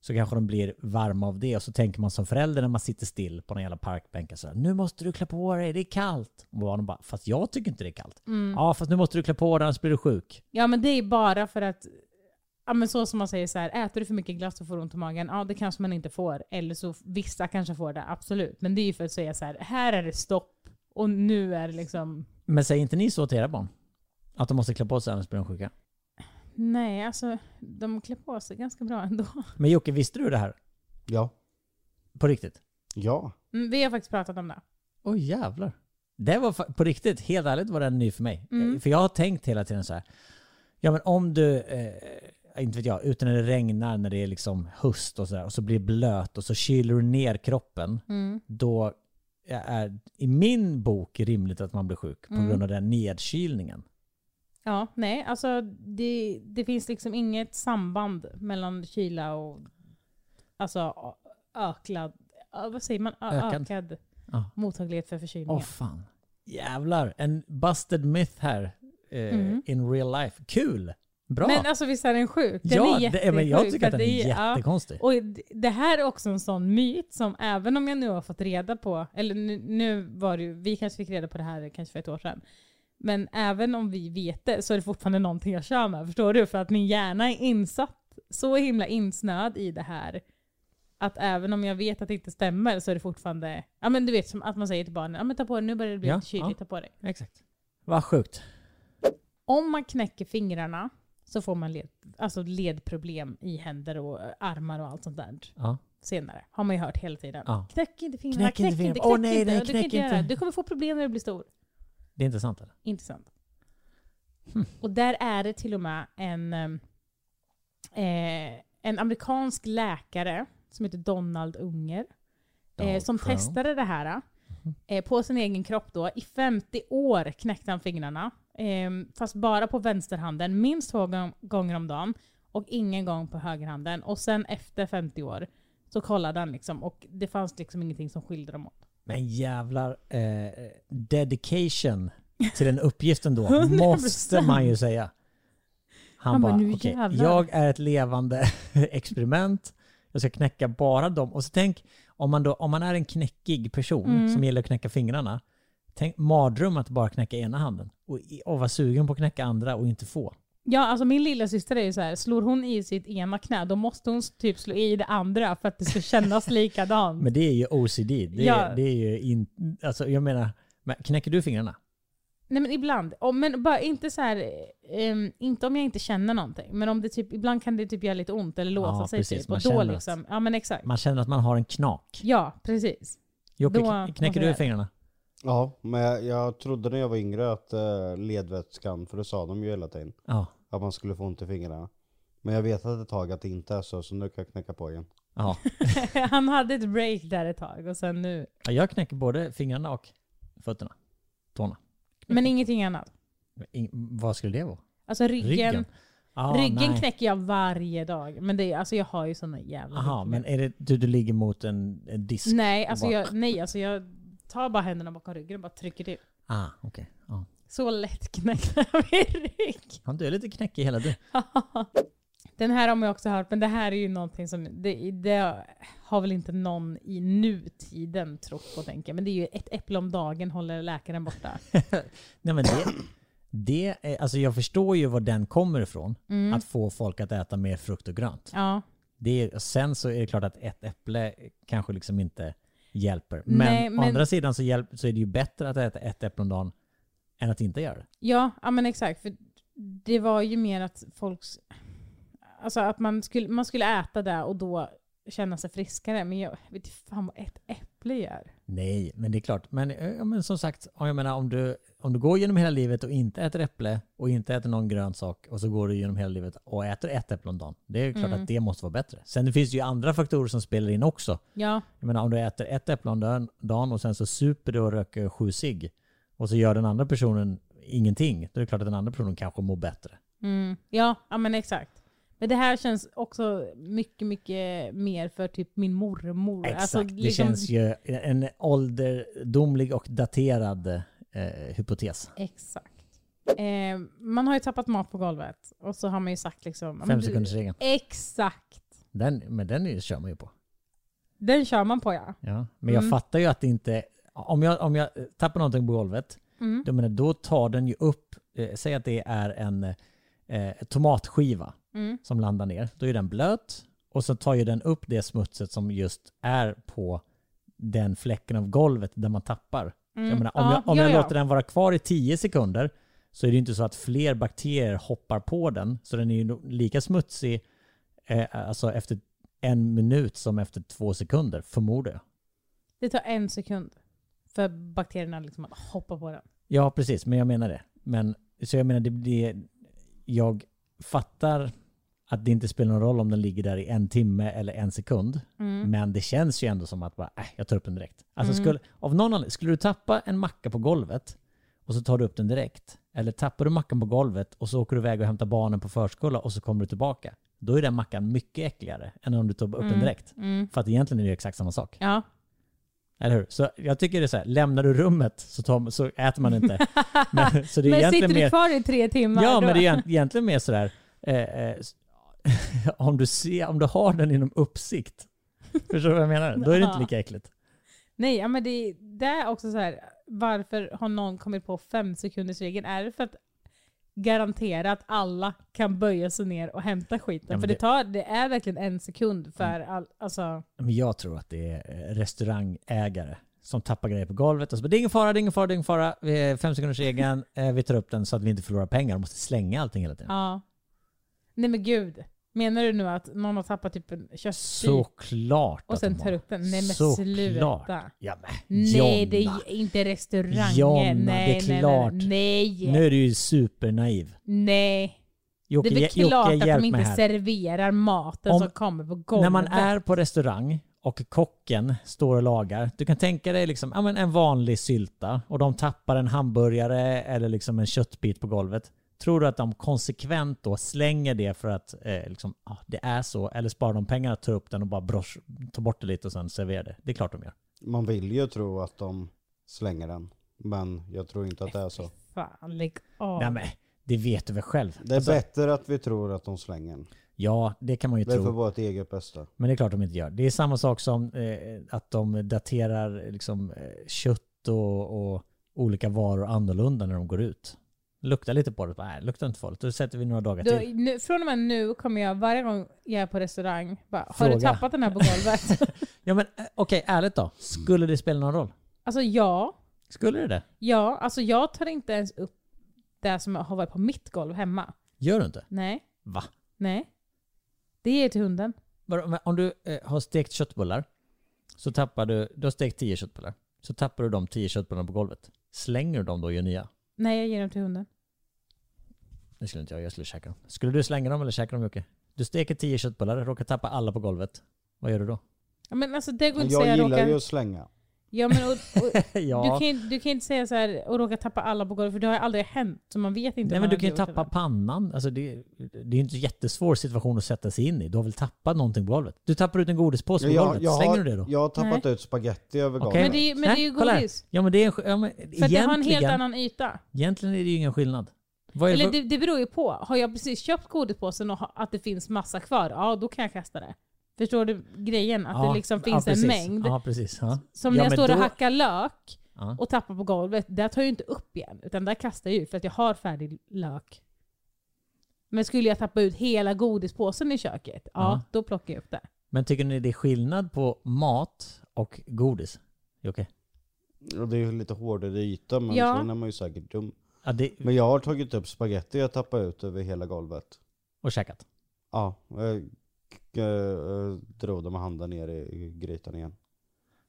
så kanske de blir varma av det och så tänker man som förälder när man sitter still på någon jävla parkbänk och så här, nu måste du klä på dig, det är kallt. Och barnen bara, fast jag tycker inte det är kallt. Ja, fast nu måste du klä på dig annars blir du sjuk.
Ja men det är bara för att, ja men så som man säger så här, äter du för mycket glass så får du ont i magen. Ja det kanske man inte får. Eller så vissa kanske får det, absolut. Men det är ju för att säga så här, här är det stopp. Och nu är det liksom,
Men säger inte ni så till era barn? Att de måste klä på sig annars blir de sjuka?
nej alltså de klär på sig ganska bra ändå.
Men Jocke, visste du det här?
Ja.
På riktigt?
Ja.
Mm, vi har faktiskt pratat om det.
Oj jävlar. Det var fa- på riktigt, helt ärligt var den ny för mig.
Mm.
Eh, För jag har tänkt hela tiden så här. Ja men om du, eh, inte vet jag, ute när det regnar, när det är liksom höst och sådär och så blir det blöt och så kyler du ner kroppen. Då är i min bok rimligt att man blir sjuk på
Mm.
grund av den nedkylningen.
Ja, nej alltså det, det finns liksom inget samband mellan kyla och alltså ö- öklad, ö- vad säger man? Ö-
Ökad.
Ökad
Ja.
mottaglighet för
Åh
förkylningar.
fan. Jävlar, en busted myth här. Eh,
Mm.
In real life. Kul! Bra!
Men alltså visst är den sjuk? Den
ja,
är
det, ja, men jag
jättesjuk,
tycker att
för
den är
ja.
jättekonstig.
Och d- det här är också en sån myt som även om jag nu har fått reda på, eller nu, nu var det ju, vi kanske fick reda på det här kanske för ett år sedan. Men även om vi vet det så är det fortfarande någonting jag kör med, förstår du? För att min hjärna är insatt, så himla insnöad i det här. Att även om jag vet att det inte stämmer så är det fortfarande, ja men du vet som att man säger till barnen, ja men ta på dig, nu börjar det bli
Ja,
lite kyligt,
ja.
ta på dig.
Exakt. Vad sjukt.
Om man knäcker fingrarna så får man led, alltså ledproblem i händer och armar och allt sånt där
Ja.
senare. Har man ju hört hela tiden.
Ja.
Knäck inte fingrarna, knäck,
Knäck inte
inte, knäck
fingrarna. Åh, nej,
inte.
nej,
du,
knäck
kan inte göra. det.
inte.
du kommer få problem när du blir stor.
Det är intressant eller?
Intressant.
Hm.
Och där är det till och med en, ehm, eh, en amerikansk läkare som heter Donald Unger eh,
Donald
som
Trump. Mhm.
testade det här eh, på sin egen kropp då. I 50 år knäckte han fingrarna. Eh, fast bara på vänsterhanden, minst två gång- gånger om dagen och ingen gång på högerhanden. Och sen efter 50 år så kollade han liksom och det fanns liksom ingenting som skilde dem åt.
Men jävlar, eh, dedication till den uppgiften då
100%.
måste man ju säga. Han,
Han bara,
bara,
"Nu
okej,
jävlar."
jag är ett levande experiment. Jag ska knäcka bara dem. Och så tänk, om man, då, om man är en knäckig person
Mm.
som gillar att knäcka fingrarna, tänk mardröm att bara knäcka ena handen. Och, i- och vara sugen på att knäcka andra och inte få.
Ja, alltså min lilla syster är ju så här, slår hon i sitt ena knä då måste hon typ slå i det andra för att det ska kännas likadant.
Men det är ju OCD. Det är,
Ja.
det är ju in, alltså jag menar, men knäcker du fingrarna?
Nej men ibland. Om, men bara inte så här, ehm, inte om jag inte känner någonting. Men om det typ, ibland kan det typ göra lite ont eller låsa
Ja,
sig
precis.
typ.
Man
Och då
känner att-
liksom, ja men exakt.
Man känner att man har en knak.
Ja, precis.
Jocke,
Då
kn- knäcker
måste
du
jag-
fingrarna?
Ja, men jag, jag trodde när jag var yngre att eh, ledvätskan, för det sa de ju hela tiden,
Ja.
att man skulle få ont i fingrarna. Men jag vet att ett tag att det inte är så, så nu kan jag knäcka på igen.
ja.
Han hade ett break där ett tag och sen nu.
Ja, Jag knäcker både fingrarna och fötterna. Tårna.
Men ingenting annat.
Men ing- vad skulle det vara?
Alltså ryggen, ryggen,
Ah, nej.
knäcker jag varje dag. Men det, är- alltså jag har ju såna jävla
Aha,
ryggproblem.
men är det du, du ligger mot en, en disk?
Nej, alltså
bara-
jag, nej, alltså jag tar bara händerna bakom ryggen och bara trycker till.
Ah, okej. Ja.
Så lätt knäcker min rygg.
Fan, Du är lite knäckig hela du.
Den här har man ju också hört, men det här är ju någonting som, det, det har väl inte någon i nutiden trott på tänker jag. Men det är ju ett äpple om dagen håller läkaren borta.
Nej, men det, det är, alltså jag förstår ju var den kommer ifrån.
Mm.
Att få folk att äta mer frukt och grönt.
Ja.
Det är, sen så är det klart att ett äpple kanske liksom inte hjälper. Men,
Nej,
å
men-
andra sidan så, hjälp, så är det ju bättre att äta ett äpple om dagen än att inte göra det.
Ja, ja men exakt. För det var ju mer att folks... Alltså att man skulle, man skulle äta det och då känna sig friskare. Men jag vet inte fan vad ett äpple gör.
Nej, men det är klart. Men, eh, ja, men som sagt, ja, jag menar, om, du, om du går genom hela livet och inte äter äpple och inte äter någon grön sak och så går du genom hela livet och äter ett äpple om dagen. Det är ju klart
Mm.
att det måste vara bättre. Sen det finns det ju andra faktorer som spelar in också.
Ja,
Jag menar om du äter ett äpple om dagen- dagen och sen så super du och röker sju cigg och så gör den andra personen ingenting. Då är det klart att den andra personen kanske mår bättre.
mm. ja, ja men exakt. Men det här känns också mycket, mycket mer för typ min mormor.
Exakt,
Alltså,
det
liksom-
känns ju en ålderdomlig och daterad eh, hypotes.
Exakt. Eh, man har ju tappat mat på golvet och så har man ju sagt liksom... ja, men
Fem
du-
sekunders regeln.
Exakt.
Den, men den är- kör man ju på.
Den kör man på ja.
Ja, men
Mm.
jag fattar ju att det inte... Om jag, om jag tappar någonting på golvet,
Mm.
då, menar, då tar den ju upp... Eh, säg att det är en eh, tomatskiva
Mm.
som landar ner. Då är den blöt och så tar ju den upp det smutset som just är på den fläcken av golvet där man tappar.
Mm.
Jag menar, om
Ja,
jag, om
ja,
jag
ja.
låter den vara kvar i 10 sekunder så är det ju inte så att fler bakterier hoppar på den. Så den är ju nog lika smutsig eh, alltså efter en minut som efter två sekunder, förmodar jag.
Det tar en sekund för bakterierna liksom att hoppa på den.
Ja, precis. Men jag menar det. Men, så jag menar, det, det, jag fattar att det inte spelar någon roll om den ligger där i en timme eller en sekund.
Mm.
Men det känns ju ändå som att bara, äh, jag tar upp den direkt. Alltså skulle, av någon anledning, skulle du tappa en macka på golvet och så tar du upp den direkt. Eller tappar du mackan på golvet och så åker du iväg och hämtar barnen på förskola och så kommer du tillbaka. Då är den mackan mycket äckligare än om du tar upp den direkt. För att egentligen är det ju exakt samma sak.
Mm. Ja.
Eller hur? Så jag tycker det är så här, lämnar du rummet så, tar, så äter man inte. Men, så det är
Men
egentligen
sitter du
mer,
kvar i tre timmar
Ja,
då?
men det är egent- egentligen mer sådär, eh, eh, s- om, du ser, om du har den inom uppsikt, förstår du vad jag menar? Då är det inte
Ja.
lika äckligt.
Nej, ja, men det, är- det är också så här. Varför har någon kommit på fem sekunders regeln? Är det för att garantera att alla kan böja sig ner och hämta skiten?
Ja, men
för det,
det- Mm.
tar, det är verkligen en sekund för all, alltså...
Men jag tror att det är eh, restaurangägare som tappar grejer på golvet och så bara, det är ingen fara, det är ingen fara, det är ingen fara. Eh, Fem sekunders regeln, eh, vi tar upp den så att vi inte förlorar pengar och måste slänga allting hela tiden.
Ja. Nej men gud. Menar du nu att någon har tappat typ en köttbit
Såklart
och
att
sen
de
tar
har.
upp den? Nej men
Såklart.
sluta.
Ja, men,
Nej det
Jonna.
är inte restaurangen.
Jonna, det är
nej,
klart.
nej, nej, nej.
Nu är du ju supernaiv.
Nej. Det
Jocke,
är väl
Jocke,
klart att
hjälp
de
mig
inte
här.
serverar maten
Om-
som kommer på golvet.
När man är på restaurang och kocken står och lagar. Du kan tänka dig liksom, ja, men en vanlig sylta och de tappar en hamburgare eller liksom en köttbit på golvet. Tror du att de konsekvent då slänger det för att eh, liksom, ah, det är så? Eller sparar de pengarna, tar upp den och bara brosch, tar bort det lite och sen serverar det? Det är klart de gör.
Man vill ju tro att de slänger den. Men jag tror inte att det är så.
Fan, lägg av.
Nej, men, Det vet du väl själv?
Det är
Alltså,
bättre att vi tror att de slänger den.
ja, det kan man ju
Det är
tro.
för vårt eget bästa.
Men det är klart de inte gör. Det är samma sak som eh, att de daterar liksom, eh, kött och, och olika varor annorlunda när de går ut. Luktar lite på det, bara, nej, luktar inte farligt. Då sätter vi några dagar
Då,
till.
nu, från och med nu kommer jag varje gång jag är på restaurang bara, har du
Fråga.
tappat den här på golvet?
Ja men eh, okej, ärligt då. Skulle det spela någon roll?
alltså ja.
Skulle det det?
Ja, alltså jag tar inte ens upp det som har varit på mitt golv hemma.
Gör du inte?
Nej,
Va?
nej. Det är till hunden.
Vadå, men Om du eh, har stekt köttbullar, så tappar du, du har stekt 10 köttbullar. Så tappar du de 10 köttbullarna på golvet. Slänger du dem då och gör nya?
Nej, jag ger dem till hunden.
Det skulle inte jag, jag skulle käka dem. Skulle du slänga dem eller käka dem Jocke? Du steker 10 köttbullar, råkar tappa alla på golvet. Vad gör du då?
Ja, Men alltså det går
Men
inte att säga
jag gillar
råkar...
ju att slänga.
Ja, men, och, och,
ja.
du, kan, ju- du kan ju inte säga så här och råka tappa alla på golvet för det har ju aldrig hänt. Så man vet inte.
Nej
om
men
man
du
har
kan ju
gjort det
tappa
där.
pannan. Alltså det, det är ju inte en jättesvår situation att sätta sig in i. Du har väl tappat någonting på golvet? Du tappar ut en godispåse på golvet. Slänger
har,
du det då?
jag har tappat ut spaghetti över
Okej.
golvet.
Men det, är- men det är ju
Nej, kolla här.
godis.
Ja men det är en, sk- ja, men
För att det har en helt
egentligen-
annan yta.
Egentligen är det ju ingen skillnad. Vad är,
Eller
vad-
det, det beror ju på. Har jag precis köpt godispåsen och ha, att det finns massa kvar, ja då kan jag kasta det. Förstår du grejen? Att
Ja,
det liksom
ja,
finns
precis.
en mängd.
Ja precis. Ja.
Som
Ja,
när jag
men
står och
då-
hackar lök
Ja.
och tappar på golvet, där tar jag ju inte upp igen. Utan där kastar jag ju för att jag har färdig lök. Men skulle jag tappa ut hela godispåsen i köket, ja
Ja.
då plockar jag upp det.
Men tycker ni det är skillnad på mat och godis? Jocke?
Och det är ju lite hårdare yta men
Ja.
sen är man ju säkert dum.
Ja, det,
Men jag har tagit upp spaghetti jag tappade ut över hela golvet.
och käkat.
Ja, jag, jag drog det med handen ner i grytan igen.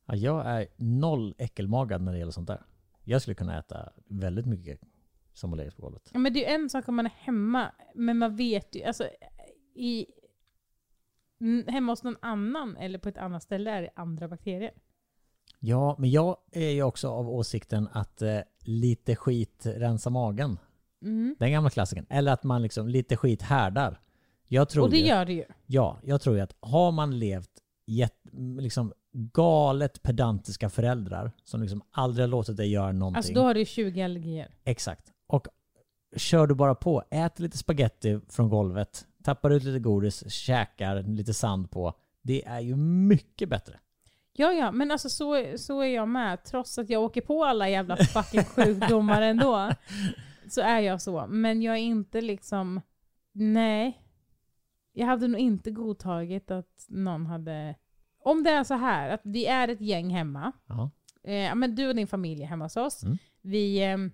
Ja, jag är noll äckelmagad när det gäller sånt där. Jag skulle kunna äta väldigt mycket som har legat på golvet.
Ja, men det är ju en sak om man är hemma, men man vet ju, alltså i, n- hemma hos någon annan eller på ett annat ställe är det andra bakterier.
Ja, men jag är ju också av åsikten att eh, lite skit rensar magen.
Mm.
Den gamla klassikern. Eller att man liksom lite skit härdar. Jag tror
Och det
ju,
gör det ju.
Ja, jag tror ju att har man levt jätt, liksom galet pedantiska föräldrar som liksom aldrig har låtit dig göra någonting.
Alltså då har du ju 20 allergier.
Exakt. Och kör du bara på, ät lite spaghetti från golvet, tappar ut lite godis, käkar lite sand på. Det är ju mycket bättre.
Ja, ja, men alltså så, så är jag med. Trots att jag åker på alla jävla fucking sjukdomar ändå. Så är jag så. Men jag är inte liksom... Nej. Jag hade nog inte godtagit att någon hade... Om det är så här att vi är ett gäng hemma.
Ja.
Eh, ja, men du och din familj är hemma hos oss.
Mm.
Vi ehm,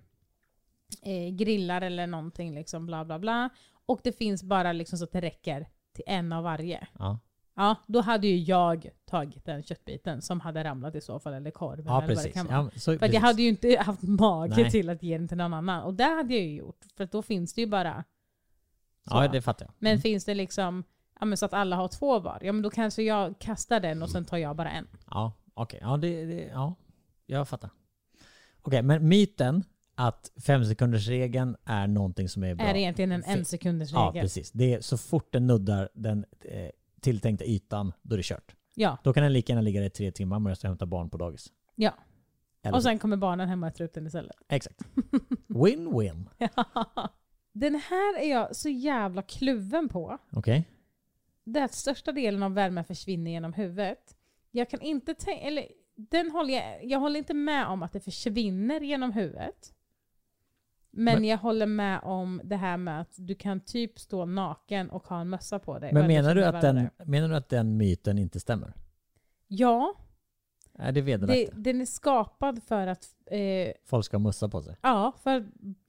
eh, grillar eller någonting liksom bla bla bla. Och det finns bara liksom så att det räcker till en av varje.
Ja,
Ja, då hade ju jag tagit den köttbiten som hade ramlat i så fall, eller korven
ja
eller vad det
precis.
kan vara.
Ja, så,
för att jag hade ju inte haft mage
Nej.
till att ge den till någon annan. Och det hade jag ju gjort, för att då finns det ju bara... så.
ja, det fattar jag. Mm.
Men finns det liksom ja, men så att alla har två var, ja men då kanske jag kastar den
Mm.
och sen tar jag bara en.
Ja, okej. Ja, det, det, ja, jag fattar. Okej, men myten att femsekundersregeln är någonting som är bra.
Är det egentligen en
Fe-
en sekunders
ja,
regel?
precis. Det är, så fort den nuddar den eh, tilltänkta ytan, då är det kört.
Ja,
Då kan den lika gärna ligga där i tre timmar medan jag hämtar barn på dagis.
ja.
Eller
Och
så.
sen kommer barnen hemma och äter upp den istället.
Exakt. Win-win.
Den här är jag så jävla kluven på.
Okej.
det är att största delen av värmen försvinner genom huvudet. Jag kan inte tänka, eller den håller jag, jag håller inte med om att det försvinner genom huvudet. Men,
Men-
jag håller med om det här med att du kan typ stå naken och ha en mössa på dig. och
Men
ändå
menar du,
känna
att den,
varmare.
menar du att den myten inte stämmer?
Ja,
Är det
det,
vederlagt?
den är skapad för att, eh,
Folk ska ha mussa på sig.
ja, för att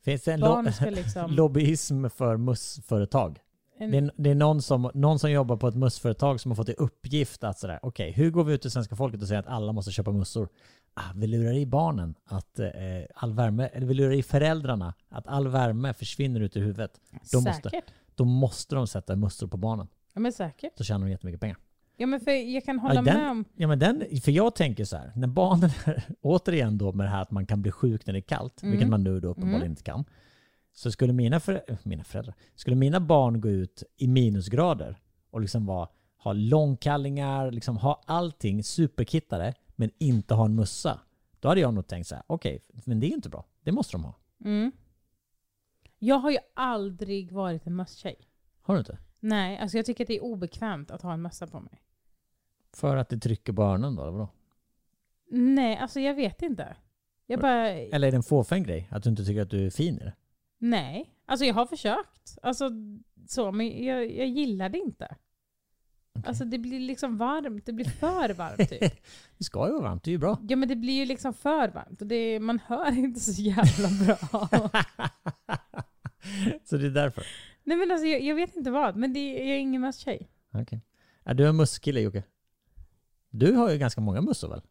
Finns det en lo-
barn ska liksom...
lobbyism för mussföretag?
En,
Det är, det är någon, som, någon som jobbar på ett mussföretag som har fått i uppgift att sådär, okej, hur går vi ut till svenska folket och säger att alla måste köpa mussor? Ah, vi lurar i barnen att eh, all värme, eller vi lurar i föräldrarna att all värme försvinner ut ur huvudet. de måste-
Säkert.
Då måste de sätta mussor på barnen.
Ja men säkert.
Då tjänar de jättemycket pengar.
Ja men för jag kan
Ja,
hålla
den-
med om...
Ja, men den, för jag tänker så här, när barnen, återigen då med det här att man kan bli sjuk när det är kallt,
Mm.
vilket man nu då uppenbarligen
Mm.
inte kan, så skulle mina, för, mina föräldrar, skulle mina barn gå ut i minusgrader och liksom vara, ha långkallingar, liksom ha allting superkittade, men inte ha en mössa. Då hade jag nog tänkt så här, okej, men det är ju inte bra. Det måste de ha.
Mm. Jag har ju aldrig varit en mösstjej.
Har du inte?
Nej, alltså jag tycker att det är obekvämt att ha en mössa på mig.
För att det trycker på öronen då, eller vadå?
Nej, alltså jag vet inte. Jag bara,
Eller är det en fåfäng grej? Att du inte tycker att du är fin i det?
nej. Alltså jag har försökt. Alltså så, men jag, jag gillar det inte. Alltså det blir liksom varmt, det blir för varmt typ.
Det ska ju vara varmt, det är ju bra.
Ja men det blir ju liksom för varmt och det, man hör inte så jävla bra.
Så det är därför.
Nej men alltså jag, jag vet inte vad, men det, jag är ingen mösstjej.
Okej. Är du en musskille Jocke? Du har ju ganska många mössor väl?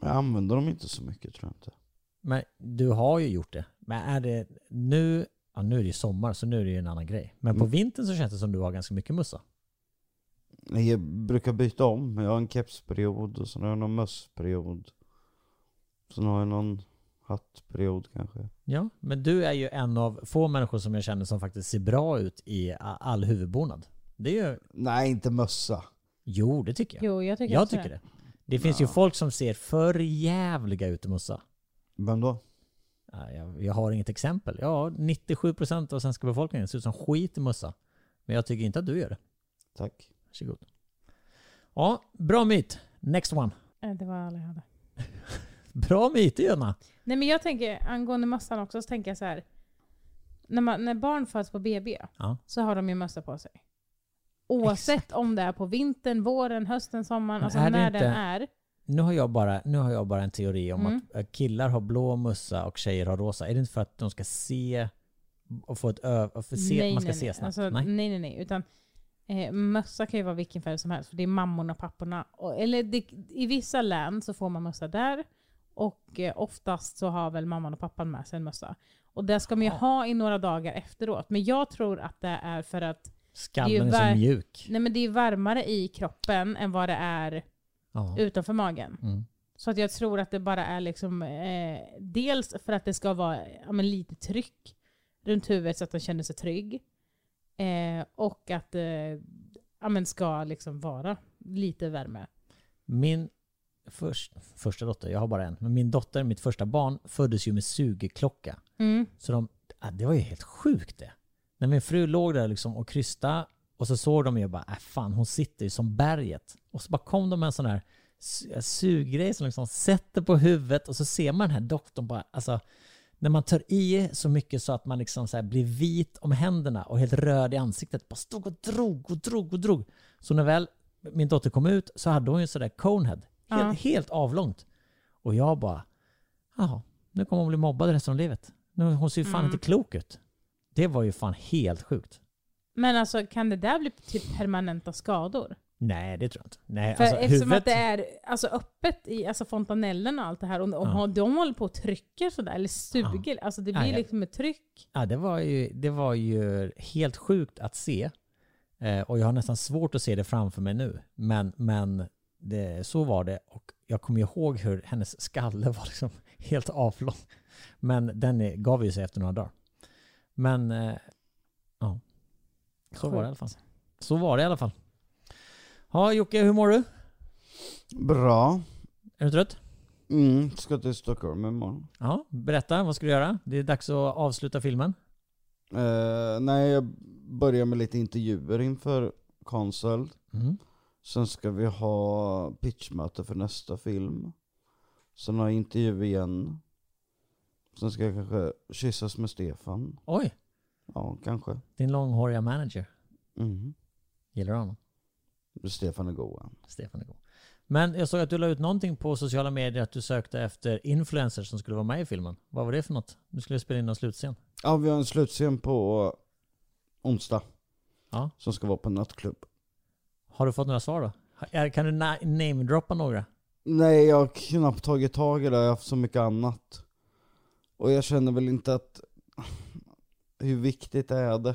Jag använder dem inte så mycket tror jag inte.
Men du har ju gjort det. Men är det nu, ja nu är det ju sommar så nu är det ju en annan grej. Men på
Mm.
vintern så känns det som du har ganska mycket mössa.
Nej, Jag brukar byta om. Jag har en kepsperiod och sen har jag någon mössperiod. Sen har jag någon hattperiod kanske.
Ja, men du är ju en av få människor som jag känner som faktiskt ser bra ut i a- all huvudbonad. Det är ju,
Nej, inte mössa.
jo det tycker jag.
Jo jag tycker
Jag
också
tycker det. Det finns ju
Ja.
folk som ser för jävliga ut i mössa.
Vem då?
Ja, Jag, jag har inget exempel. Ja, 97% av svenska befolkningen ser ut som skit i mössa. Men jag tycker inte att du gör det.
Tack.
Varsågod. Ja, bra myt. Next one.
det. Eh, Det var alla jag hade.
Bra myt Jonna.
Nej men jag tänker, angående mössan också, så tänker jag så här. När, man, när barn föds på BB
Ja.
så har de ju mössa på sig. Oavsett om det är på vintern, våren, hösten, sommaren,
Men
alltså
är det
när
inte-
den är.
Nu har jag bara, nu har jag bara en teori om
Mm.
att eh, killar har blå mössa och tjejer har rosa. Är det inte för att de ska se och få ett ö- och få se, man ska se snabbt?
Alltså, nej.
nej.
nej, nej, Utan eh, mössa kan ju vara vilken färg som helst, för det är mammorna och papporna. Och, eller det, i vissa län så får man mössa där, och eh, oftast så har väl mamman och pappan med sig en mössa. Och det ska man ju
Jaha.
ha i några dagar efteråt. Men jag tror att det är för att det är
Skallen
ju
är så
var-
mjuk.
nej, men det är varmare i kroppen än vad det är
Ja.
utanför magen.
Mm.
Så att jag tror att det bara är liksom, eh, dels för att det ska vara ja, men lite tryck runt huvudet så att de känner sig trygg. Eh, och att det eh, ja, men ska liksom vara lite värme.
Min förs- första dotter, jag har bara en, men min dotter, mitt första barn, föddes ju med sugklocka.
Mm.
Så de, ah, det var ju helt sjukt det. När min fru låg där liksom och krysta och så såg de ju bara, äh, fan hon sitter ju som berget. Och så bara kom de med en sån här su- äh, suggrej som liksom sätter på huvudet och så ser man den här doktorn bara, alltså när man tar i så mycket så att man liksom så här blir vit om händerna och helt röd i ansiktet. Bara stod och drog och drog och drog. Så när väl min dotter kom ut så hade hon ju sådär conehead. Helt,
Ja.
helt avlångt. Och jag bara, jaha, nu kommer hon bli mobbad resten av livet. Nu, hon ser ju fan
Mm.
inte klok ut. Det var ju fan helt sjukt.
Men alltså kan det där bli typ permanenta skador?
Nej, det tror jag inte. Nej,
För
alltså
eftersom
huvudet...
att det är alltså, öppet i alltså, fontanellen och allt det här, och om
Ja.
de håller på och trycker sådär, eller suger, alltså det
Ja,
blir
ja.
liksom ett tryck.
Ja, det var ju, det var ju helt sjukt att se. Eh, och jag har nästan svårt att se det framför mig nu. Men, men det, så var det. Och jag kommer ihåg hur hennes skalle var liksom helt avlång. Men den är, gav ju sig efter några dagar. Men eh, ja, så var det i alla fall. Så var det i alla fall. Ja, Jocke, hur mår du?
Bra.
Är du trött?
Mm, ska till Stockholm imorgon.
Ja, berätta. Vad ska du göra? Det är dags att avsluta filmen.
Eh, nej, jag börjar med lite intervjuer inför Consult.
Mm.
Sen ska vi ha pitchmöte för nästa film. Sen har jag intervju igen. Sen ska jag kanske kyssas med Stefan.
Oj,
Ja, kanske.
din långhåriga manager.
Mm.
Gillar du honom?
Stefan är god. han.
Stefan är god. Men jag såg att du la ut någonting på sociala medier att du sökte efter influencers som skulle vara med i filmen. Vad var det för något? Nu skulle vi spela in någon slutscen.
Ja, vi har en slutscen på onsdag.
Ja.
Som ska vara på nattklubb.
Har du fått några svar då? Ha- är- Kan du na- namedroppa några?
Nej, jag har knappt tagit tag i det. Jag har haft så mycket annat. Och jag känner väl inte att... Hur viktigt är det?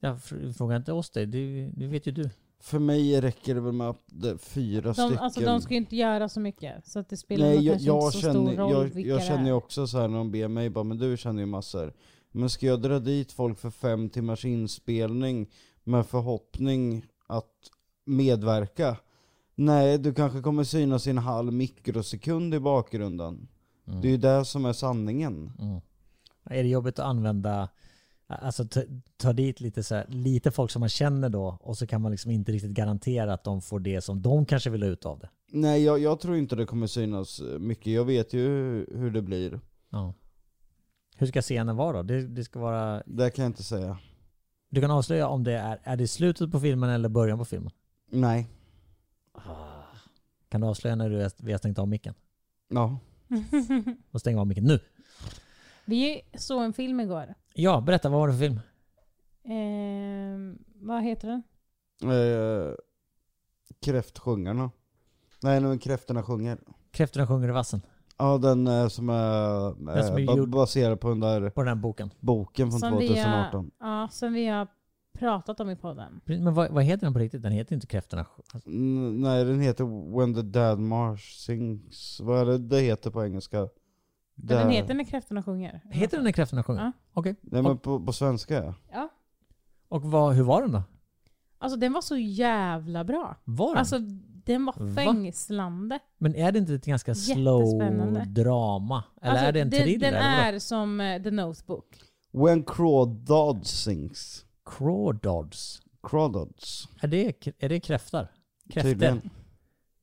Jag fr- frågar inte oss det. Det, det vet ju du.
För mig räcker det väl med att det är fyra
De,
stycken.
alltså, de ska ju inte göra så mycket, så att det spelar
Nej,
nog
jag,
kanske
jag,
inte så
känner,
stor roll
jag,
vilka
jag
det
känner
är.
ju också så här när de ber mig bara, men du känner ju massor. Men ska jag dra dit folk för fem timmars inspelning med förhoppning att medverka? Nej, du kanske kommer synas i en halv mikrosekund i bakgrunden.
Mm.
Det är ju det som är sanningen.
Mm. Är det jobbigt att använda, alltså ta, ta dit lite, så här, lite folk som man känner då och så kan man liksom inte riktigt garantera att de får det som de kanske vill ha ut av det.
Nej jag, jag tror inte det kommer synas mycket, jag vet ju hur- hur det blir.
Ja. Hur ska scenen vara då? Det, det ska vara,
Det kan jag inte säga.
du kan avslöja om det är, är det slutet på filmen eller början på filmen?
Nej.
Kan du avslöja när du, vi har stängt av micken?
Ja.
Och stäng av micken nu!
Vi såg en film igår.
Ja, berätta vad var det för film?
Ehm, vad heter den?
Eh, kräftsjungarna. Nej, nu kräftorna sjunger.
Kräftorna sjunger i vassen.
Ja, den eh, som är,
Den som är
eh, ba-
gjord-
baserad på den där
På den här boken.
boken från
Som vi, eh,
2018.
Ja, som vi har pratat om i podden.
Men vad, vad heter den på riktigt? Den heter inte Kräftorna. sj- alltså,
N- nej, den heter When the Dead Marsh Sings. Vad är det det heter på engelska?
Men Den
Där.
heter När kräftorna sjunger.
Heter den När Kräftorna sjunger?
Ja.
Okej.
Nej men på, på svenska
Ja.
Och vad, hur var den då?
Alltså den var så jävla bra.
Var den?
Alltså den var
Va?
fängslande.
Men är det inte ett ganska slow
Jättespännande.
drama? Eller
alltså,
är det en
den,
thriller?
Den
eller vadå?
är som eh, The Notebook.
When Crawdads Sings.
Crawdads.
Crawdads.
Är det, är det kräftar? Kräftor?
Tydligen.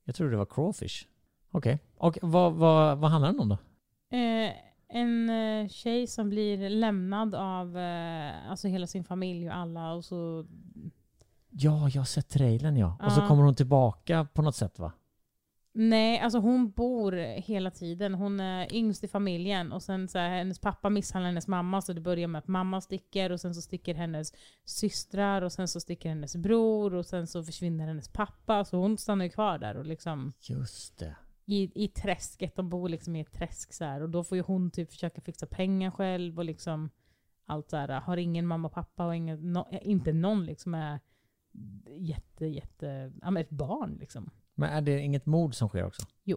Jag trodde det var crawfish. Okej. Och vad, vad, vad handlar den om då?
Eh, en eh, tjej som blir lämnad av eh, alltså hela sin familj och alla. Och så,
Ja, jag har sett trailern ja. Och så
Ja.
kommer hon tillbaka på något sätt va?
nej, alltså hon bor hela tiden. Hon är yngst i familjen och sen så här, hennes pappa misshandlar hennes mamma så det börjar med att mamma sticker och sen så sticker hennes systrar och sen så sticker hennes bror och sen så försvinner hennes pappa. Så hon stannar ju kvar där och liksom
Just det.
i, i träsket. De bor liksom i ett träsk så här. Och då får ju hon typ försöka fixa pengar själv och liksom allt så här. Har ingen mamma och pappa och ingen, no, inte någon liksom är jätte, jätte, ja men ett barn liksom.
Men är det inget mord som sker också?
Jo.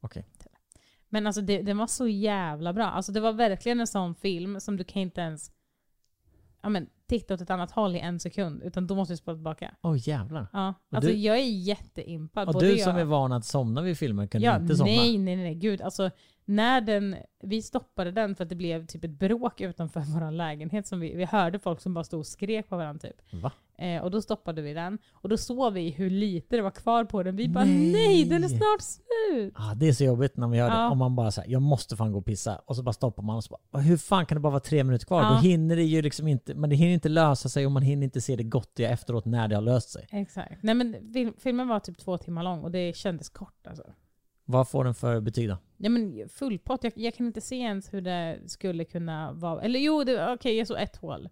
Okej.
Men alltså det, den var så jävla bra. Alltså det var verkligen en sån film som du kan inte ens ja, men, titta åt ett annat håll i en sekund. Utan då måste du spola tillbaka.
Åh jävlar.
Ja.
Och
Alltså
du-
jag är jätteimpad.
Och
Både
du som
jag-
är van att somna vid filmer kunde
ja,
inte somna?
Nej, nej, nej, gud. Alltså, när den, vi stoppade den för att det blev typ ett bråk utanför vår lägenhet. Som vi, vi hörde folk som bara stod och skrek på varandra typ.
Va?
Eh, och då stoppade vi den. Och då såg vi hur lite det var kvar på den. Vi bara
Nej.
nej, den är snart slut.
Ah, det är så jobbigt när man gör det.
Ja.
Om man bara säger jag måste fan gå och pissa. Och så bara stoppar man och så bara, hur fan kan det bara vara tre minuter kvar?
Ja.
Då hinner det ju liksom inte, men det hinner inte lösa sig och man hinner inte se det gottiga efteråt när det har löst sig.
Exakt. Nej men film, filmen var typ två timmar lång och det kändes kort alltså.
Vad får den för betyg då?
Nej men full pott. Jag, jag kan inte se ens hur det skulle kunna vara. Eller jo, det- okej jag såg ett hål.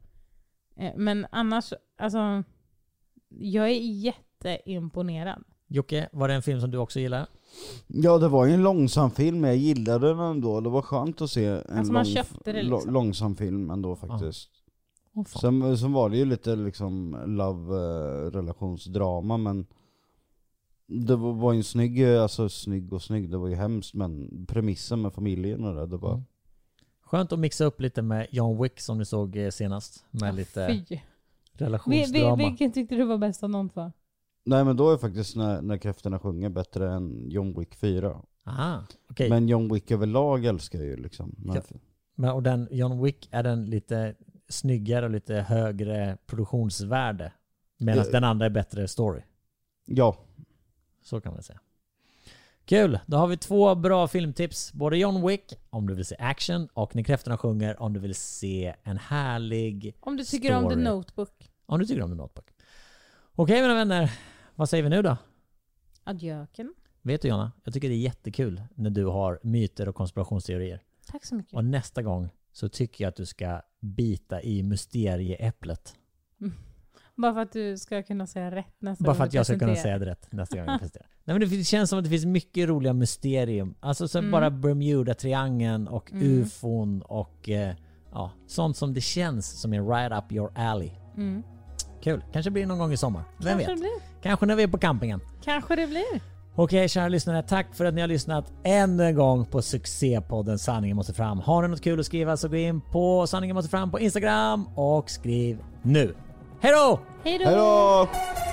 Eh, Men annars, alltså. Jag är jätteimponerad.
Jocke, var det en film som du också gillar?
Ja det var ju en långsam film, men jag gillade den ändå. Det var skönt att se en
Alltså, man
lång,
köpte det,
lo-
liksom.
långsam film ändå faktiskt.
Åh, fan.
Sen, sen var det ju lite liksom love eh, relationsdrama men det var, var ju en snygg, eh, alltså snygg och snygg, det var ju hemskt men premissen med familjen och det, det var...
Mm. Skönt att mixa upp lite med John Wick som du såg eh, senast. Med lite
Fy. Vi, vi,
relationsdrama.
vilken tyckte du var bäst av de två?
Nej men då är faktiskt när, när kräftorna sjunger bättre än John Wick 4.
Aha, okej.
Men John Wick överlag älskar jag ju liksom. Men,
Men, och den John Wick, är den lite snyggare och lite högre produktionsvärde? Medan
Eh.
den andra är bättre story?
ja.
Så kan man säga. Kul! Då har vi två bra filmtips. Både John Wick, om du vill se action, och När kräftorna sjunger, om du vill se en härlig...
Om du tycker om The
Story.
Notebook.
Om du tycker om The Notebook. Okej mina vänner, vad säger vi nu då?
Adjöken.
Vet du Jonna, jag tycker det är jättekul när du har myter och konspirationsteorier.
Tack så mycket.
Och nästa gång så tycker jag att du ska bita i mysterieäpplet.
Bara för att du ska kunna säga rätt nästa
Bara
gång
för att
du
jag ska kunna
presenterar.
säga det rätt nästa gång jag presterar. Nej men det finns- känns som att det finns mycket roliga mysterium. Alltså så
Mm.
bara Bermuda-triangeln och
Mm.
ufon och eh, ja, sånt som det känns som är right up your alley.
Mm.
Kul. Kanske blir det någon gång i sommar. Vem
Kanske det
vet?
blir.
Kanske när vi är på campingen.
Kanske det blir.
Okej kära lyssnare, tack för att ni har lyssnat ännu en gång på succépodden Sanningen måste fram. Har ni något kul att skriva så gå in på Sanningen måste fram på Instagram och skriv nu. Hej då!
Hej då!
Hejdå!